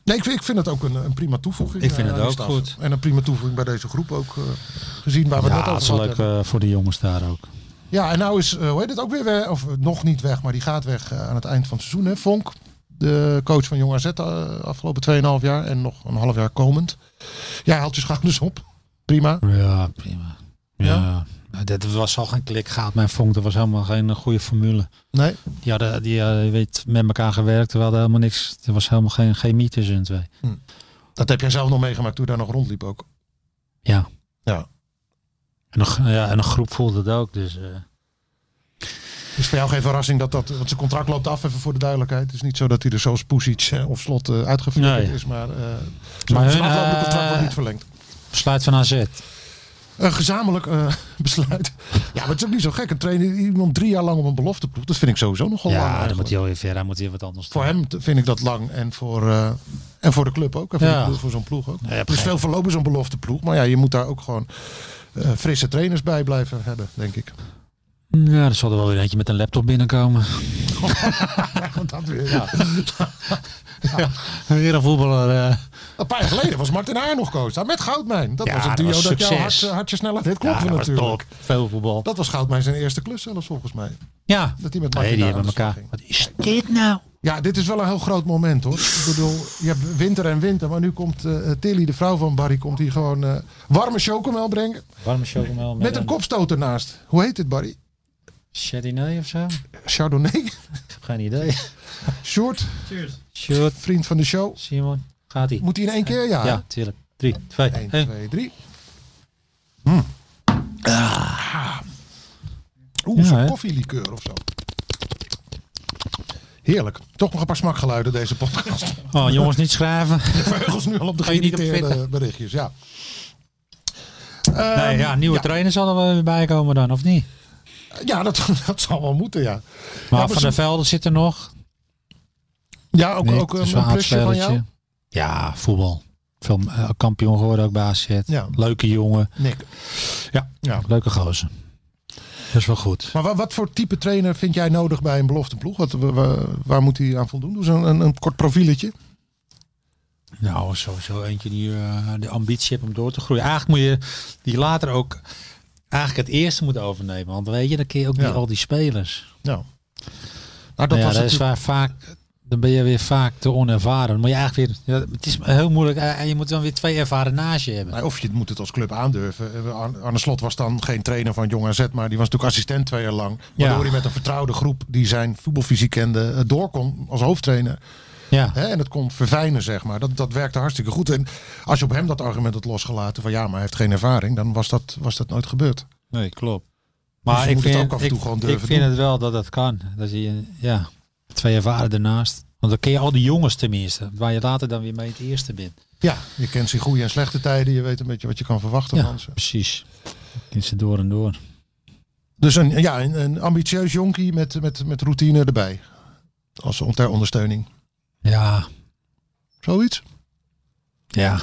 S5: Nee, ik vind, ik vind het ook een, een prima toevoeging.
S6: Ik vind
S5: eh,
S6: het
S5: aan die
S6: ook
S5: staf.
S6: goed.
S5: En een prima toevoeging bij deze groep ook. eh, gezien waar we net
S6: Ja,
S5: over
S6: het is wel
S5: gehad
S6: leuk
S5: hebben.
S6: eh, voor de jongens daar ook.
S5: Ja, en nou is, eh, hoe heet het ook weer weg? Of eh, nog niet weg, maar die gaat weg eh, aan het eind van het seizoen. Hè? Vonk, de coach van Jong AZ eh, afgelopen 2,5 jaar. En nog een half jaar komend. Jij haalt je schouders op. Prima.
S6: Ja, prima.
S5: Ja?
S6: Ja. Dat was al geen klik gaat mijn vonk. Dat was helemaal geen eh, goede formule.
S5: Nee.
S6: Die hadden, die hadden, je weet, met elkaar gewerkt. Terwijl er helemaal niks. Er was helemaal geen chemie tussen hun twee.
S5: Dat heb jij zelf nog meegemaakt toen je daar nog rondliep ook.
S6: Ja.
S5: Ja.
S6: En een, ja, en een groep voelde het ook. Dus, eh,
S5: Dus voor jou geen verrassing dat dat... Want zijn contract loopt af, even voor de duidelijkheid. Het is niet zo dat hij er zoals Pusic eh, of Slot eh uitgeflikkerd
S6: Nee.
S5: is. Maar, eh
S6: Maar
S5: maar zijn
S6: hun,
S5: aflopende contract wordt
S6: eh,
S5: niet verlengd.
S6: besluit van AZ.
S5: Een gezamenlijk eh, besluit. Ja, maar het is ook niet zo gek. Een trainer die iemand drie jaar lang op een belofteploeg. Dat vind ik sowieso nogal lang.
S6: Ja, dan
S5: eigenlijk.
S6: moet hij alweer verder. Hij moet hier wat anders doen.
S5: Voor hem t- vind ik dat lang. En voor, eh, en voor de club ook. En voor,
S6: Ja.
S5: die ploeg- voor zo'n ploeg ook.
S6: je hebt
S5: dus
S6: geen-
S5: veel verlopen zo'n belofteploeg. Maar ja, je moet daar ook gewoon eh, frisse trainers bij blijven hebben, denk ik.
S6: Ja, er zal er wel weer eentje met een laptop binnenkomen.
S5: Want dat weer, ja.
S6: Weer een voetballer. eh.
S5: Een paar jaar geleden was Martin Haar nog coach. Daar met Goudmijn. Dat
S6: Ja,
S5: was het
S6: dat
S5: duo
S6: was
S5: dat jouw
S6: succes.
S5: hartje, hartje sneller deed
S6: Ja,
S5: kloppen
S6: dat was
S5: natuurlijk.
S6: top. Veel voetbal.
S5: Dat was Goudmijn zijn eerste klus zelfs volgens mij.
S6: ja.
S5: Dat hij met Martin
S6: Nee, die hebben
S5: Haar aan de slag
S6: elkaar.
S5: ging.
S6: Wat is dit nou?
S5: Ja, dit is wel een heel groot moment hoor. Ik bedoel, je hebt winter en winter, maar nu komt eh, Tilly, de vrouw van Barry, komt hier gewoon eh, warme chocomel brengen.
S6: Warme chocomel met,
S5: Met een kopstoot ernaast. Hoe heet dit, Barry?
S6: Chardonnay of zo? Ik
S5: Chardonnay.
S6: heb geen idee.
S5: Short,
S6: Shoot,
S5: vriend van de show.
S6: Simon. Gaat hij?
S5: Moet hij in één keer? Ja.
S6: Ja, tuurlijk. 3, 2,
S5: 1,
S6: 1.
S5: 2, 3.
S6: Hmm.
S5: Ah. Oeh,
S6: Ja,
S5: zo'n
S6: hè?
S5: koffielikeur of zo. Heerlijk. Toch nog een paar smakgeluiden deze podcast.
S6: Oh, jongens, niet schrijven.
S5: Verheugels nu al op de
S6: Ga je niet op
S5: geïrriteerde
S6: Twitter?
S5: berichtjes. Ja. Eh,
S6: Nee, ja, nieuwe trainer zal er wel weer bij komen dan, of niet?
S5: Ja, dat, dat zal wel moeten, ja.
S6: Maar
S5: Ja, maar
S6: Van
S5: ze-
S6: der Velde zit er nog.
S5: Ja, ook,
S6: Nick,
S5: ook eh,
S6: dus
S5: een,
S6: wel
S5: een plusje van jou.
S6: aardspelertje. Ja, voetbal. Veel eh, kampioen geworden ook bij AZ.
S5: Ja.
S6: Leuke jongen.
S5: Nick.
S6: Ja.
S5: ja.
S6: Leuke gozer. Dat is wel goed.
S5: Maar wat, wat voor type trainer vind jij nodig bij een belofte ploeg? Wat, wa- wa- waar moet hij aan voldoen? Doe zo'n een, een kort profieletje.
S6: Nou, sowieso eentje die eh, de ambitie heeft om door te groeien. Eigenlijk moet je die later ook eigenlijk het eerste moeten overnemen. Want weet je, dan kun je ook
S5: Ja.
S6: niet al die spelers.
S5: Nou, nou dat
S6: ja,
S5: was
S6: dat is
S5: natuurlijk-
S6: waar vaak. Dan ben je weer vaak te onervaren. Dan moet je eigenlijk weer, ja, het is heel moeilijk. Eh, Je moet dan weer twee ervaren naast je hebben.
S5: Nou, of je moet het als club aandurven. Eh, Ar- Arne Slot was dan geen trainer van Jong AZ, maar die was natuurlijk assistent twee jaar lang. Waardoor
S6: Ja.
S5: hij met een vertrouwde groep die zijn voetbalvisie kende eh, door kon als hoofdtrainer.
S6: Ja.
S5: Hè, en het kon verfijnen, zeg maar. Dat, dat werkte hartstikke goed. En als je op hem dat argument had losgelaten van ja, maar hij heeft geen ervaring, dan was dat, was dat nooit gebeurd.
S6: Nee, klopt.
S5: Dus
S6: Maar
S5: je
S6: ik
S5: moet het
S6: vind,
S5: ook af en toe
S6: ik,
S5: gewoon
S6: ik
S5: durven
S6: vind
S5: doen.
S6: het wel dat dat kan. Dat je ja, twee ervaren ernaast. Want dan ken je al die jongens tenminste. Waar je later dan weer mee het eerste bent.
S5: Ja, je kent zijn goede en slechte tijden. Je weet een beetje wat je kan verwachten
S6: Ja,
S5: van ze.
S6: precies. Kind ze door en door.
S5: Dus een, ja, een, een ambitieus jonkie met, met, met routine erbij. Als on- ter ondersteuning.
S6: Ja,
S5: Zoiets.
S6: ja.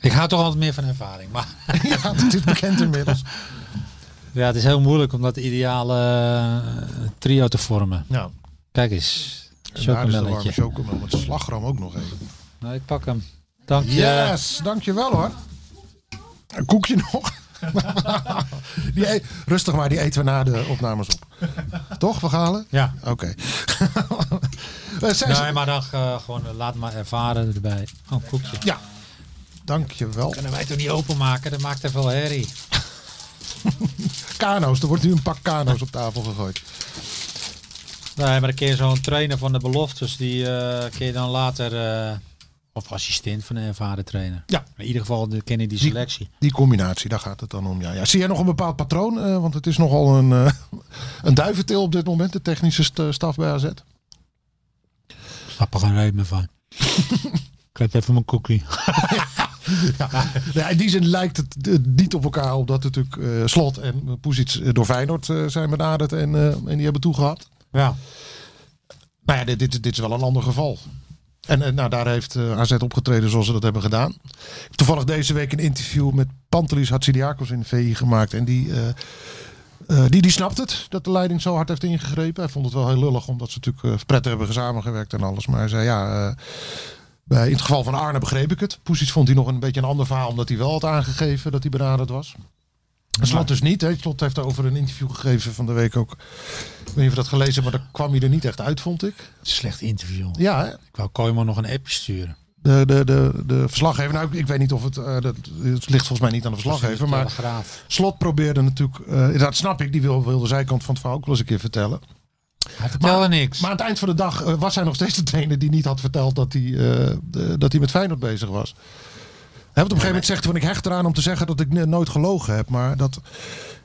S6: Ik hou toch altijd meer van ervaring. Maar
S5: Ja, dat is bekend inmiddels.
S6: ja, het is heel moeilijk om dat ideale eh, trio te vormen.
S5: Nou,
S6: Kijk eens.
S5: en daar is de warme
S6: Chocomelletje.
S5: chocomel met slagroom ook nog even.
S6: Nou, ik pak hem. Dank je.
S5: Yes, dankjewel hoor. Een koekje nog. die e- Rustig maar, die eten we na de opnames op. Toch, we halen?
S6: Ja.
S5: Oké. Eh, Zij-
S6: Nee, maar dan eh, gewoon eh, laat maar ervaren erbij. Oh, een koekje.
S5: Ja, dankjewel.
S6: Kunnen wij toch niet openmaken? Dat maakt er veel herrie.
S5: Kano's, er wordt nu een pak kano's op tafel gegooid.
S6: Nee, maar dan kun je zo'n trainer van de beloftes, die eh, kun je dan later... eh, of assistent van een ervaren trainer.
S5: Ja.
S6: In ieder geval de, ken je die
S5: Die-
S6: selectie.
S5: Die combinatie, daar gaat het dan om. Ja, ja. Zie jij nog een bepaald patroon? Eh, want het is nogal een, eh, een duiventil op dit moment, de technische st- staf bij AZ.
S6: Ik snap er geen reet meer van. ik heb even mijn koekje.
S5: Ja, in die zin lijkt het eh, niet op elkaar, omdat natuurlijk eh, Slot en Poesic eh, door Feyenoord eh, zijn benaderd en, eh, en die hebben toegehad.
S6: Ja.
S5: Nou ja, dit, dit, dit is wel een ander geval. En eh, nou, daar heeft eh, AZ opgetreden zoals ze dat hebben gedaan. Ik heb toevallig deze week een interview met Pantelis Hatsidiakos in de VI gemaakt. En die, eh, eh, die, die snapt het, dat de leiding zo hard heeft ingegrepen. Hij vond het wel heel lullig, omdat ze natuurlijk eh, prettig hebben samengewerkt en alles. Maar hij zei, ja, eh, bij, in het geval van Arne begreep ik het. Poesies vond hij nog een beetje een ander verhaal, omdat hij wel had aangegeven dat hij benaderd was. En Slot dus niet. Hè. Slot heeft daarover een interview gegeven van de week ook. Ik weet niet of je dat gelezen hebt, maar daar kwam hij er niet echt uit, vond ik.
S6: Slecht interview.
S5: Ja, hè?
S6: Ik wou Kooijman nog een appje sturen.
S5: De, de, de, de verslaggever, nou ik, ik weet niet of het, eh, dat, het ligt volgens mij niet aan de verslaggever, maar
S6: Telegraaf.
S5: Slot probeerde natuurlijk, eh, dat snap ik, die wil, wil de zijkant van het verhaal ook wel eens een keer vertellen.
S6: Hij vertelde niks.
S5: Maar aan het eind van de dag eh, was hij nog steeds de trainer die niet had verteld dat hij, eh, de- dat hij met Feyenoord bezig was. Hij op een gegeven moment zegt hij van ik hecht eraan om te zeggen dat ik ne- nooit gelogen heb, maar dat,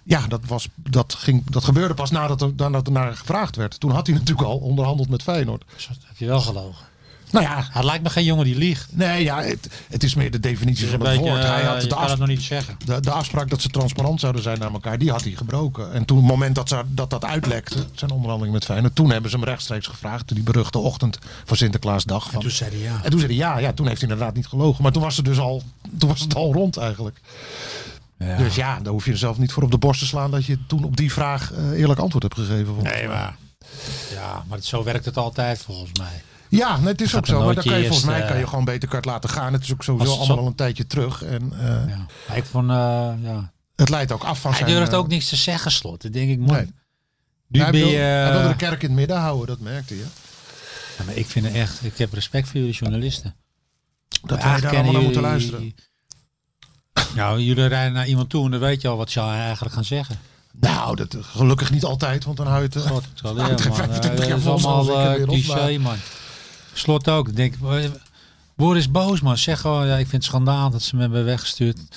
S5: ja, dat, was, dat, ging, dat gebeurde pas nadat er, nadat er naar gevraagd werd. Toen had hij natuurlijk al onderhandeld met Feyenoord.
S6: Heb je wel gelogen?
S5: Nou ja,
S6: Hij lijkt me geen jongen die liegt.
S5: nee, ja het, het is meer de definitie
S6: Dus
S5: van
S6: een
S5: het
S6: beetje,
S5: woord. Hij
S6: eh,
S5: had
S6: je
S5: de
S6: kan
S5: afspraak.
S6: dat nog niet zeggen.
S5: De, de afspraak dat ze transparant zouden zijn naar elkaar, die had hij gebroken. En toen, het moment dat ze, dat, dat uitlekte, zijn onderhandeling met Feyenoord, toen hebben ze hem rechtstreeks gevraagd. Die beruchte ochtend van Sinterklaasdag. Van,
S6: Toen zei hij ja.
S5: en toen zei hij ja, ja, toen heeft hij inderdaad niet gelogen. Maar toen was, het dus al, toen was het al rond eigenlijk. Dus ja, daar hoef je jezelf niet voor op de borst te slaan dat je toen op die vraag eh, eerlijk antwoord hebt gegeven. vond.
S6: Nee, maar. Ja, maar zo werkt het altijd volgens mij.
S5: Ja, nee, het is ook
S6: er
S5: zo. Maar
S6: nooit
S5: dan
S6: je
S5: kan je,
S6: eerste-
S5: volgens mij kan je gewoon beter kart laten gaan. Het is ook sowieso
S6: Als het
S5: allemaal
S6: zo-
S5: al een tijdje terug. En eh,
S6: Ja. Maar Ik vond, eh, ja.
S5: het leidt ook af van
S6: Hij
S5: zijn...
S6: durft
S5: eh,
S6: ook niks te zeggen, slot. Ik denk ik, man.
S5: Nee.
S6: Nu
S5: hij,
S6: ben
S5: wilde,
S6: je. eh,
S5: hij wilde de kerk in het midden houden, dat merkte je.
S6: Ja, maar ik vind het echt. Ik heb respect voor jullie journalisten.
S5: Dat wij
S6: Eigenlijk
S5: daar
S6: kennen
S5: allemaal naar moeten
S6: jullie-
S5: luisteren.
S6: Nou, jullie rijden naar iemand toe en dan weet je al wat ze eigenlijk gaan zeggen.
S5: Nou, dat eh, gelukkig niet altijd, want dan hou je het... eh,
S6: God, ik zal
S5: Ja,
S6: leren, man.
S5: 25
S6: Dat
S5: jaar
S6: is
S5: volgens
S6: allemaal
S5: ons, ik
S6: eh,
S5: inmiddels,
S6: cliché, man. Slot ook. Ik Denk, eh, word eens boos, man. Zeg gewoon, ja, ik vind het schandaal dat ze me hebben weggestuurd. Dat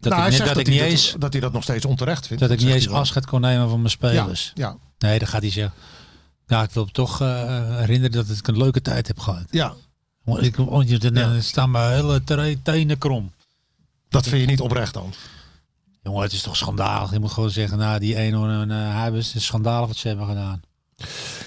S5: nou, hij
S6: ik, net, dat
S5: zegt dat,
S6: ik niet
S5: hij
S6: eens,
S5: dat, dat hij dat nog steeds onterecht vindt.
S6: dat ik niet
S5: zegt
S6: eens
S5: hij wel.
S6: afscheid kon nemen van mijn spelers.
S5: Ja, ja,
S6: Nee, dan gaat hij zeggen. Nou, ik wil hem toch eh, herinneren dat ik een leuke tijd heb gehad.
S5: ja,
S6: Want ik want je- dan
S5: Ja.
S6: staan mijn hele tere- tenen krom.
S5: dat vind je niet oprecht dan.
S6: Jongen, het is toch schandalig. Je moet gewoon zeggen, nou, die ene en eh Huibers, het is schandalig wat ze hebben gedaan.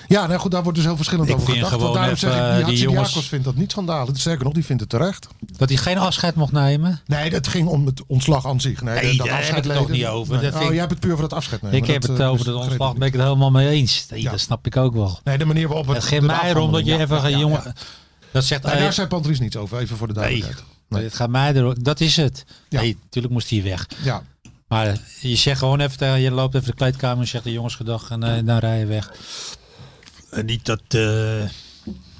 S5: Ja, nou goed, daar wordt dus heel verschillend
S6: Ik
S5: over
S6: vind
S5: gedacht. Want
S6: gewoon
S5: daarom
S6: even,
S5: zeg ik,
S6: eh,
S5: die,
S6: die
S5: Hatsidiakos
S6: jongens-
S5: vindt dat niet schandalig. Sterker nog, die vindt het terecht.
S6: Dat hij geen afscheid mocht nemen.
S5: Nee, het ging om het ontslag aan zich. Nee,
S6: Nee,
S5: dat
S6: daar heb
S5: afscheid
S6: ik het toch
S5: leden.
S6: niet over.
S5: Nee.
S6: Dat
S5: Oh,
S6: vind ik-
S5: jij hebt het puur voor het afscheid nemen.
S6: ik heb
S5: Dat,
S6: het
S5: eh,
S6: over
S5: dus
S6: dat
S5: begreep
S6: ontslag,
S5: ik
S6: ben
S5: niet.
S6: ik het helemaal mee eens. Nee,
S5: Ja.
S6: Dat snap ik ook wel.
S5: Nee, de manier waarop het...
S6: Het ging
S5: de
S6: mij erom dat je
S5: afhandeling,
S6: even
S5: ja,
S6: geen
S5: ja, ja,
S6: jongen...
S5: ja.
S6: Dat zegt...
S5: Nee,
S6: eh,
S5: daar zei Pantelis niets over, even voor de duidelijkheid.
S6: nee, Het gaat mij erom. Dat is het.
S5: Ja.
S6: Nee, natuurlijk moest hij weg.
S5: Ja,
S6: Maar je zegt gewoon even, tegen- je loopt even de kleedkamer en zegt de jongens gedag en eh, dan rij je weg. En niet dat, eh,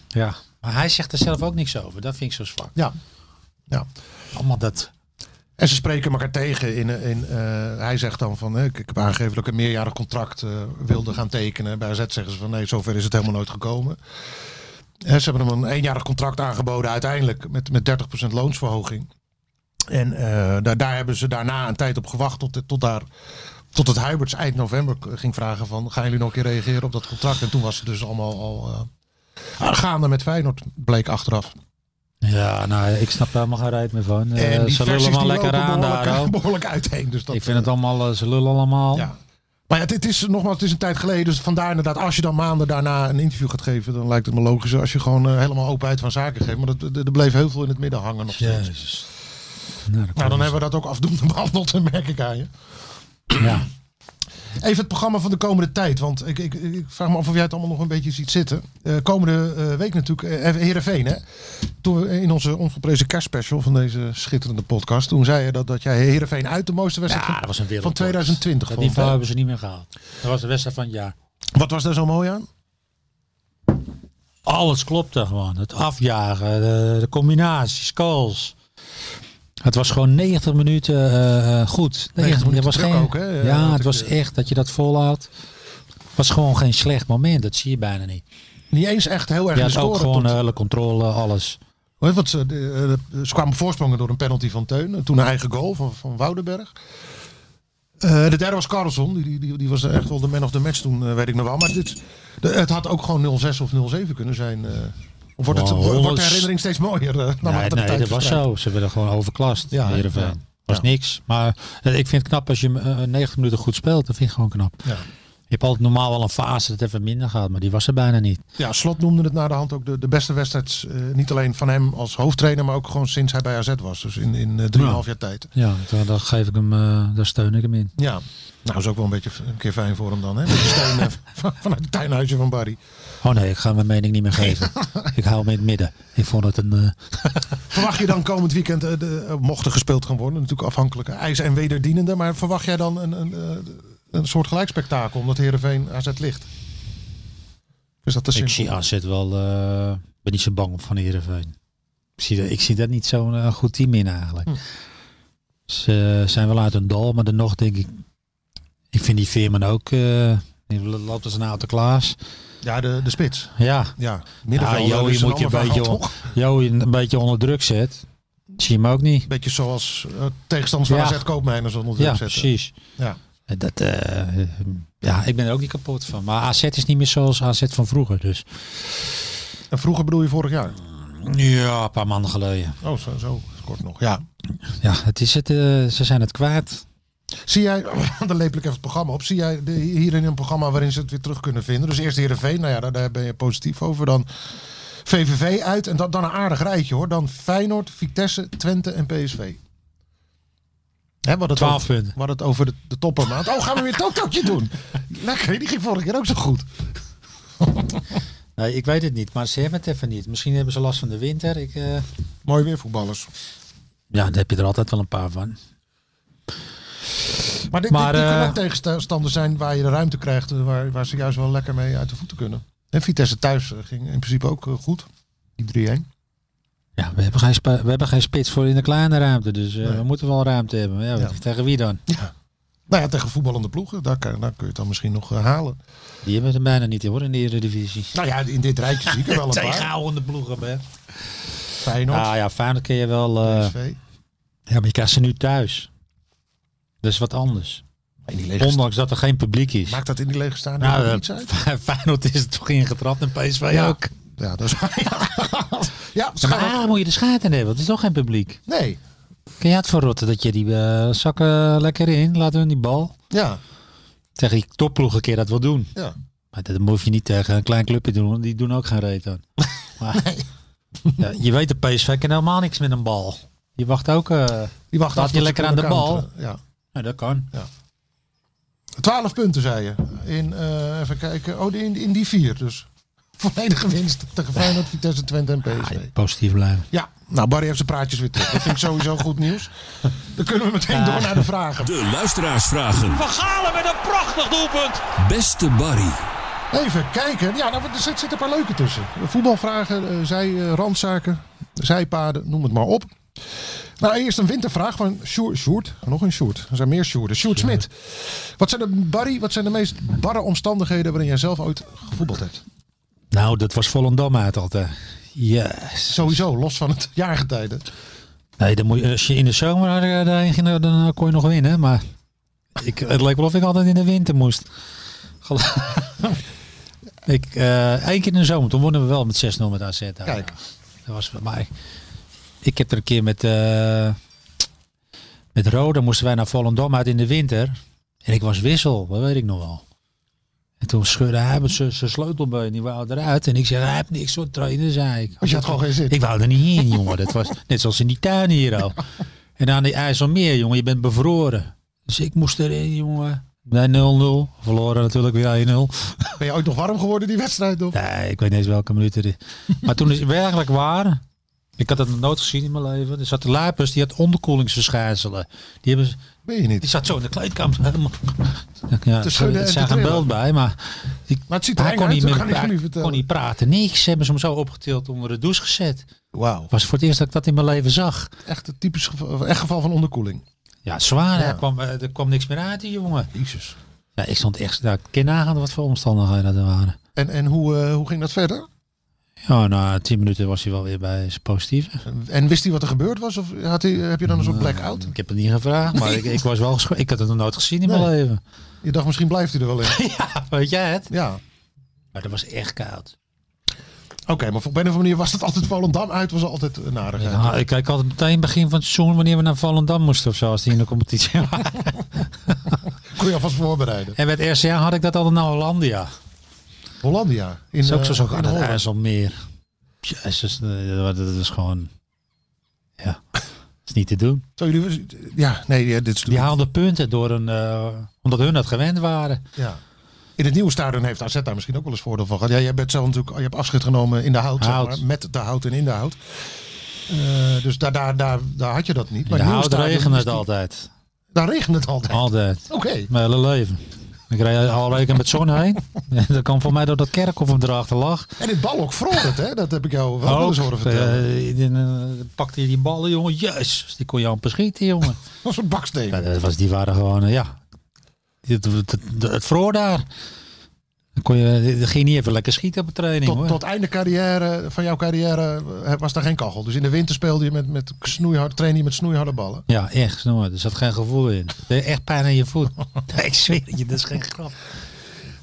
S6: Ja. Maar hij zegt er zelf ook niks over. Dat vind ik zo zwak.
S5: Ja. ja.
S6: Allemaal dat.
S5: En ze spreken elkaar tegen. In, in, eh, hij zegt dan van, eh, ik, ik heb aangegeven dat ik een meerjarig contract eh, wilde gaan tekenen. Bij AZ zeggen ze van, nee, zover is het helemaal nooit gekomen. Eh, ze hebben hem een eenjarig contract aangeboden uiteindelijk met, met 30% loonsverhoging. En eh, daar, daar hebben ze daarna een tijd op gewacht tot, tot, daar, tot het Huiberts eind november k- ging vragen van, gaan jullie nog een keer reageren op dat contract? En toen was het dus allemaal al eh, gaande met Feyenoord, bleek achteraf.
S6: Ja, nou, ik snap daar helemaal geen reet meer van. Eh,
S5: en die
S6: ze lullen
S5: versies
S6: allemaal
S5: die
S6: lekker
S5: lopen
S6: aan daar. hoor.
S5: behoorlijk, behoorlijk uiteen. Dus dat,
S6: Ik vind het allemaal, eh, ze lullen allemaal.
S5: Ja. Maar ja, het is nogmaals, het is een tijd geleden. Dus vandaar inderdaad, als je dan maanden daarna een interview gaat geven, dan lijkt het me logischer als je gewoon eh, helemaal openheid van zaken geeft. Maar dat, dat- er bleef heel veel in het midden hangen nog steeds.
S6: Jezus. Nou, dat
S5: Nou, dan
S6: komt
S5: hebben we dat ook afdoende behandeld, merk ik aan je.
S6: dus. ja.
S5: Even het programma van de komende tijd. Want ik, ik, ik vraag me af of jij het allemaal nog een beetje ziet zitten. Eh, komende eh, week natuurlijk, eh Heerenveen hè. Toen we in onze ongeprezen kerstspecial van deze schitterende podcast. Toen zei je dat, dat jij Heerenveen uit de mooiste wedstrijd
S6: ja,
S5: van-
S6: dat was een wereld.
S5: van 2020
S6: Dat
S5: vond,
S6: niveau
S5: hè?
S6: hebben ze niet meer gehaald. Dat was de wedstrijd van het jaar.
S5: Wat was daar zo mooi aan?
S6: Alles klopte gewoon. Het afjagen, de, de combinaties, calls. Het was gewoon 90 minuten eh, eh, goed. 90
S5: minuten
S6: minuten was
S5: druk
S6: geen,
S5: ook, hè? Ja,
S6: Ja,
S5: dat
S6: het
S5: ik,
S6: was
S5: eh,
S6: echt dat je dat volhoudt. Het was gewoon geen slecht moment. Dat zie je bijna niet.
S5: Niet eens echt heel erg
S6: Je
S5: de
S6: had ook
S5: score
S6: gewoon
S5: tot-
S6: de hele controle, alles.
S5: Hoor, Want ze, Eh, de- de- ze kwamen voorsprongen door een penalty van Teun. En toen een eigen goal van, van Woudenberg. Eh, de derde was Carlson. Die, die, die, die was echt wel de man of the match toen, eh, weet ik nog wel. Maar dit, de- het had ook gewoon 0-6 of 0-7 kunnen zijn. eh. Of wordt, het,
S6: Wow,
S5: wordt wordt de
S6: honderd-
S5: herinnering steeds mooier? eh, naarmate
S6: Nee,
S5: de
S6: nee
S5: tijd
S6: dat was
S5: verstrijkt?
S6: zo. Ze werden gewoon overklast.
S5: Ja,
S6: Ja,
S5: hè?
S6: Heerenveen.
S5: Ja.
S6: was
S5: Ja.
S6: niks. Maar eh, ik vind het knap als je eh, 90 minuten goed speelt. Dat vind ik gewoon knap.
S5: Ja.
S6: Je hebt altijd normaal wel een fase dat het even minder gaat. Maar die was er bijna niet.
S5: Ja, Slot noemde het na de hand ook de, de beste wedstrijd. eh, niet alleen van hem als hoofdtrainer, maar ook gewoon sinds hij bij AZ was. Dus in, in eh, 3,5 jaar tijd.
S6: Ja, daar, daar geef ik hem, eh, daar steun ik hem in.
S5: Ja, nou is ook wel een beetje een keer fijn voor hem dan. Hè? Met de steun eh, van, vanuit het tuinhuisje van Barry.
S6: Oh nee, ik ga mijn mening niet meer geven. ik hou hem in het midden. Ik vond het een... eh,
S5: Verwacht je dan komend weekend, eh, de, eh, mocht er gespeeld gaan worden, natuurlijk afhankelijk eh, ijs- en wederdienende, maar verwacht jij dan een, een, eh, een soort gelijkspektakel omdat Heerenveen AZ ligt? Is dat te
S6: ik
S5: simpel?
S6: zie AZ wel... eh, Ik ben niet zo bang van Heerenveen. Ik zie, dat, ik zie dat niet zo'n eh, goed team in eigenlijk. Ze eh, zijn wel uit een dal, maar dan nog denk ik... Ik vind die Veerman ook... eh, die loopt als een oude Klaas.
S5: Ja, de, de spits.
S6: Ja,
S5: Ja,
S6: ja
S5: middenvelder.
S6: Joey
S5: dus
S6: moet je een
S5: ander
S6: beetje,
S5: verhaal,
S6: on-
S5: toch?
S6: Joey een beetje onder druk zet. Zie je hem ook niet.
S5: Beetje zoals eh, tegenstanders van
S6: Ja.
S5: AZ Koopmeiners onder druk
S6: Ja,
S5: zetten.
S6: precies.
S5: Ja.
S6: En Dat, eh, ja, ik ben er ook niet kapot van. Maar AZ is niet meer zoals AZ van vroeger. Dus.
S5: En vroeger bedoel je vorig jaar?
S6: Ja, een paar maanden geleden.
S5: Oh, zo, zo kort nog. Ja.
S6: Ja, het is het. eh, ze zijn het kwaad.
S5: Zie jij, dan lepel ik even het programma op. Zie jij de, hierin een programma waarin ze het weer terug kunnen vinden? Dus eerst Heerenveen, nou ja, daar, daar ben je positief over. Dan VVV uit en dan, dan een aardig rijtje hoor. Dan Feyenoord, Vitesse, Twente en PSV. Hè, wat het
S6: 12
S5: over,
S6: punten.
S5: Wat het over de, de toppermaand. Oh, gaan we weer Totootje doen? Lekker, die ging vorige keer ook zo goed.
S6: Nee, ik weet het niet. Maar ze hebben het even niet. Misschien hebben ze last van de winter. Ik, eh,
S5: Mooi weer voetballers.
S6: Ja, daar heb je er altijd wel een paar van.
S5: Maar dit,
S6: Maar,
S5: dit, dit kunnen
S6: eh,
S5: ook tegenstanders zijn waar je de ruimte krijgt. eh, Waar, waar ze juist wel lekker mee uit de voeten kunnen. En Vitesse thuis eh, ging in principe ook eh, goed. Die 3-1.
S6: Ja, we hebben, geen spa- we hebben geen spits voor in de kleine ruimte. Dus eh,
S5: Nee.
S6: we moeten wel ruimte hebben. Maar Ja,
S5: Ja.
S6: Tegen wie dan?
S5: Ja. Nou ja, tegen voetballende ploegen, daar, kan- daar kun je het dan misschien nog eh, halen.
S6: Die hebben we er bijna niet hoor in de Eredivisie.
S5: Nou ja, in dit rijtje zie ik er wel een paar.
S6: Tegenhoudende ploegen, hè?
S5: Feyenoord,
S6: Ah ja, Feyenoord kun je wel... eh,
S5: PSV.
S6: Ja, maar je krijgt ze nu thuis. Dat is wat anders.
S5: In die lege
S6: Ondanks dat er geen publiek is.
S5: Maakt dat in die lege staan
S6: Nou,
S5: nou,
S6: eh,
S5: iets uit?
S6: Feyenoord is er toch ingetrapt en PSV
S5: Ja,
S6: ook.
S5: Ja, dat is Ja,
S6: Maar
S5: schijnbaar-
S6: daar moet je de schijt aan hebben, want het is toch geen publiek.
S5: Nee,
S6: Kun je het verrotten dat je die eh, zakken lekker in, laten hun die bal.
S5: ja,
S6: Tegen die topploeg een keer dat wil doen.
S5: ja.
S6: Maar dat hoef je niet tegen een klein clubje te doen, want die doen ook geen reet aan. Maar, eh, ja, je weet, de PSV kan helemaal niks met een bal. Je wacht ook... eh,
S5: Die wacht
S6: Staat
S5: af
S6: je
S5: tot ze
S6: lekker aan de
S5: kunnen
S6: bal?
S5: counteren, Ja.
S6: nou, dat kan.
S5: 12 punten, zei je. In, eh, even kijken. Oh, in, in die vier dus. Volledige winst tegen Feyenoord, Vitesse, Twente en
S6: Ah,
S5: PSV.
S6: positief blijven.
S5: Ja, nou Barry heeft zijn praatjes weer terug. Dat vind ik sowieso goed nieuws. Dan kunnen we meteen door naar de vragen.
S7: De luisteraarsvragen.
S3: Van Galen met een prachtig doelpunt.
S7: Beste Barry.
S5: Even kijken. Ja, nou, er zit- zitten een paar leuke tussen. Voetbalvragen, eh, zij, eh, randzaken, zijpaden, noem het maar op. Nou, eerst een wintervraag van Sjoerd. Sjoerd? Nog een Sjoerd. Er zijn meer Sjoerden. Sjoerd Smit. Wat zijn, de barrie, wat zijn de meest barre omstandigheden waarin jij zelf ooit gevoetbald hebt?
S6: Nou, dat was Volendam uit altijd. Yes.
S5: Sowieso, los van het jaargetijde.
S6: Nee, dan moet je, als je in de zomer daar- eh, daarheen ging, dan kon je nog winnen. Maar ik, het leek wel of ik altijd in de winter moest. Gel- ik, eh één keer in de zomer, toen wonnen we wel met 6-0 met AZ. daar.
S5: Kijk.
S6: Dat was bij mij. Ik heb er een keer met, eh met Roda moesten wij naar Volendam uit in de winter. En ik was wissel, dat weet ik nog wel. En toen scheurde hij met zijn zijn sleutelbeen, die wou eruit. En ik zei, hij heeft niks voor trainen, zei ik.
S5: Want je had gewoon geen zin.
S6: Ik wou er niet in, jongen. Dat was net zoals in die tuin hier al. En aan die IJsselmeer, jongen, je bent bevroren. Dus ik moest erin, jongen. Nee, 0-0. Verloren natuurlijk weer 1-0.
S5: Ben je ooit nog warm geworden die wedstrijd? Nog?
S6: Nee, ik weet niet eens welke minuut het is. Maar toen is het werkelijk waar. Ik had dat nog nooit gezien in mijn leven. Er zat de Lapus, die had onderkoelingsverschijnselen. Die, hebben,
S5: Ben je niet.
S6: die zat zo in de kleedkamer. helemaal- Ja,
S5: Te
S6: er
S5: schudden en te
S6: zag een
S5: trillen.
S6: beeld bij, maar... die-
S5: Maar het ziet er
S6: hij
S5: eng
S6: kon
S5: uit,
S6: niet
S5: dat
S6: meer
S5: kan ik jullie
S6: hij
S5: vertellen.
S6: kon niet praten, niks. Ze hebben ze hem zo opgetild onder de douche gezet.
S5: Wauw.
S6: was voor het eerst dat ik dat in mijn leven zag.
S5: Echt het typisch geval, echt geval van onderkoeling.
S6: Ja, zwaar. hè. Er, kwam, eh, er kwam niks meer uit, die jongen.
S5: Jezus.
S6: Ja, ik stond echt... Nou, ik kan nagaan wat voor omstandigheden dat er waren.
S5: En, en hoe, eh, hoe ging dat verder?
S6: Ja, na tien minuten was hij wel weer bij zijn positieve.
S5: En wist hij wat er gebeurd was? Of had hij, heb je dan een soort blackout?
S6: Ik heb het niet gevraagd, maar ik, ik was wel geschro- Ik had het nog nooit gezien in mijn
S5: Nee.
S6: leven.
S5: Je dacht, misschien blijft hij er wel in.
S6: Ja, weet jij het?
S5: Ja.
S6: Maar dat was echt koud.
S5: Oké, maar op een of andere manier was het altijd Volendam uit. Was altijd een aardigheid.
S6: Ja, nou, ik kijk altijd meteen begin van het seizoen wanneer we naar Volendam moesten of zo, als die in de competitie waren.
S5: Kon je alvast voorbereiden.
S6: En met RCA had ik dat altijd naar Hollandia.
S5: Hollandia. In,
S6: Zo ook zo
S5: eh,
S6: zo
S5: in
S6: aan het
S5: Holland.
S6: IJsselmeer. Jezus, eh, dat dat is gewoon... Ja, dat is niet te doen.
S5: Zo, jullie, ja, nee, ja, dit is
S6: Die haalden punten door een, eh, omdat hun dat gewend waren.
S5: ja. In het nieuwe stadion heeft AZ daar misschien ook wel eens voordeel van gehad. Ja, jij bent zelf natuurlijk, je hebt afscheid genomen in de hout, zeg
S6: Hout.
S5: maar, met de hout en in de hout. Eh, dus daar, daar, daar, daar had je dat niet.
S6: In de
S5: het nieuwe
S6: hout
S5: stadion
S6: regende
S5: is
S6: het
S5: die-
S6: altijd.
S5: Daar regent het altijd.
S6: Altijd.
S5: Oké.
S6: Mijn hele leven. Ik rijd al rekening met zon heen. dat kan voor mij door dat kerkhof hem erachter lag.
S5: En dit bal ook vroeg het, hè? Dat heb ik
S6: Oh,
S5: jou wel eens horen vertellen.
S6: eh, dan, eh, pakte hij die ballen, jongen. Jezus, die kon je amper schieten, jongen.
S5: Als een baksteen.
S6: ja, dat was, die waren gewoon, eh, ja. Het, het, het, het vroor daar. Dan kon je, dat ging niet even lekker schieten op de training,
S5: tot,
S6: hoor.
S5: tot einde carrière, van jouw carrière eh, was daar geen kachel. Dus in de winter speelde je met, met snoeihard, trainde je met snoeiharde ballen.
S6: Ja, echt, nooit. Er zat geen gevoel in. Echt pijn aan je voet. Nee, ik zweer het je, dat is geen grap.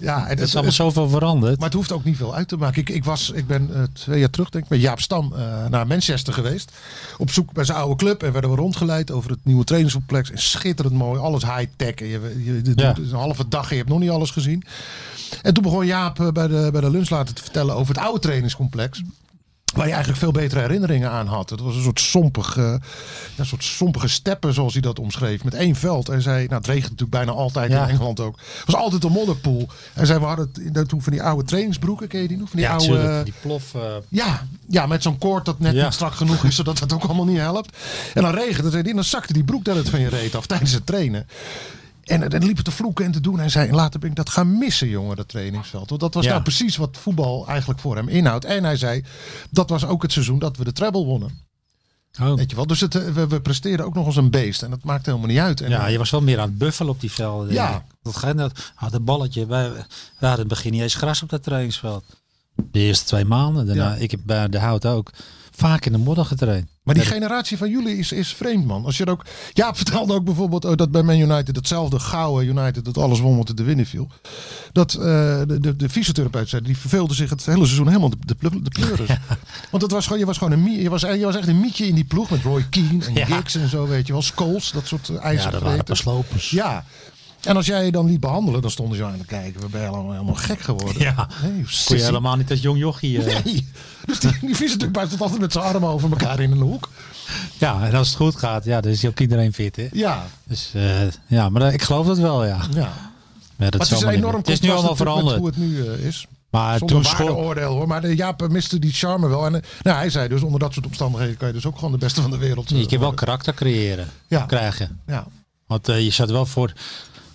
S5: Ja, en
S6: Het
S5: het,
S6: is dus- allemaal zoveel veranderd.
S5: maar het hoeft ook niet veel uit te maken. Ik, ik, was, ik ben eh, twee jaar terug, denk ik, met Jaap Stam eh, naar Manchester geweest. Op zoek bij zijn oude club. En werden we rondgeleid over het nieuwe trainingscomplex. En schitterend mooi, alles high-tech. En Je, je, je
S6: Ja.
S5: doet een halve dag en je hebt nog niet alles gezien. En toen begon Jaap eh, bij de, bij de lunch later te vertellen over het oude trainingscomplex. Waar hij eigenlijk veel betere herinneringen aan had. Het was een soort sompige, ja, een soort sompige steppen, zoals hij dat omschreef. Met één veld. En zei, nou het regent natuurlijk bijna altijd
S6: Ja.
S5: in Engeland ook. Het was altijd een modderpoel. En zei, we hadden het in- toen van die oude trainingsbroeken, ken je die nog? Van die
S6: ja,
S5: oude,
S6: tuurlijk. Die plof... eh,
S5: ja, ja, met zo'n koord dat net
S6: Ja.
S5: niet strak genoeg is, zodat het ook allemaal niet helpt. En dan regende het en dan zakte die broek daar het van je reet af tijdens het trainen. En eh, dan liep het te vloeken en te doen. Hij zei, later ben ik dat gaan missen, jongen, dat trainingsveld. Want dat was
S6: Ja.
S5: nou precies wat voetbal eigenlijk voor hem inhoudt. En hij zei, dat was ook het seizoen dat we de treble wonnen.
S6: oh.
S5: Weet je wel? Dus het, eh, we, we presteerden ook nog als een beest. En dat maakt helemaal niet uit. En,
S6: Ja, je was wel meer aan het buffelen op die velden. denk
S5: Ja.
S6: ik. Dat gaat dat. Had een balletje. Wij, wij hadden in het begin niet eens gras op dat trainingsveld. De eerste twee maanden. Daarna, Ik heb bij de hout ook vaak in de modder getraind.
S5: Maar die generatie van jullie is, is vreemd, man. Als je er ook, Jaap vertelde ook bijvoorbeeld oh, dat bij Man United hetzelfde gouden United dat alles won wat er te winnen viel. Dat eh, de, de, de fysiotherapeut zei, die verveelde zich het hele seizoen helemaal de, de, ple- de pleuris. Want dat was gewoon, je was gewoon een mie- je was, je was echt een mietje in die ploeg met Roy Keane en
S6: Ja.
S5: Giggs en zo, weet je wel. Scholes, dat soort eh,
S6: Ja, dat waren
S5: ijzervreten.
S6: beslopers.
S5: Ja. En als jij je dan liet behandelen, dan stonden ze aan het kijken. We ben je helemaal, helemaal gek geworden.
S6: Ja.
S5: Nee,
S6: Kon je
S5: sissy.
S6: helemaal niet als jong jochie. eh.
S5: Nee. Dus die, die fysiotherapeut stond altijd met zijn armen over elkaar in een hoek.
S6: Ja, en als het goed gaat, ja, dan is ook iedereen fit. Hè?
S5: Ja.
S6: Dus eh, ja, maar eh, ik geloof dat wel, ja.
S5: Ja.
S6: ja dat
S5: Maar het is een enorm
S6: Het is nu allemaal
S5: contrast natuurlijk met
S6: veranderd.
S5: hoe het nu eh, is.
S6: Maar
S5: Zonder
S6: toen school,
S5: waardeoordeel hoor. Maar de Jaap eh, miste die charme wel. En eh, nou, hij zei dus onder dat soort omstandigheden kan je dus ook gewoon de beste van de wereld. eh,
S6: je kan wel
S5: worden.
S6: karakter creëren.
S5: Ja.
S6: Krijgen.
S5: Ja.
S6: Want eh, je zat wel voor.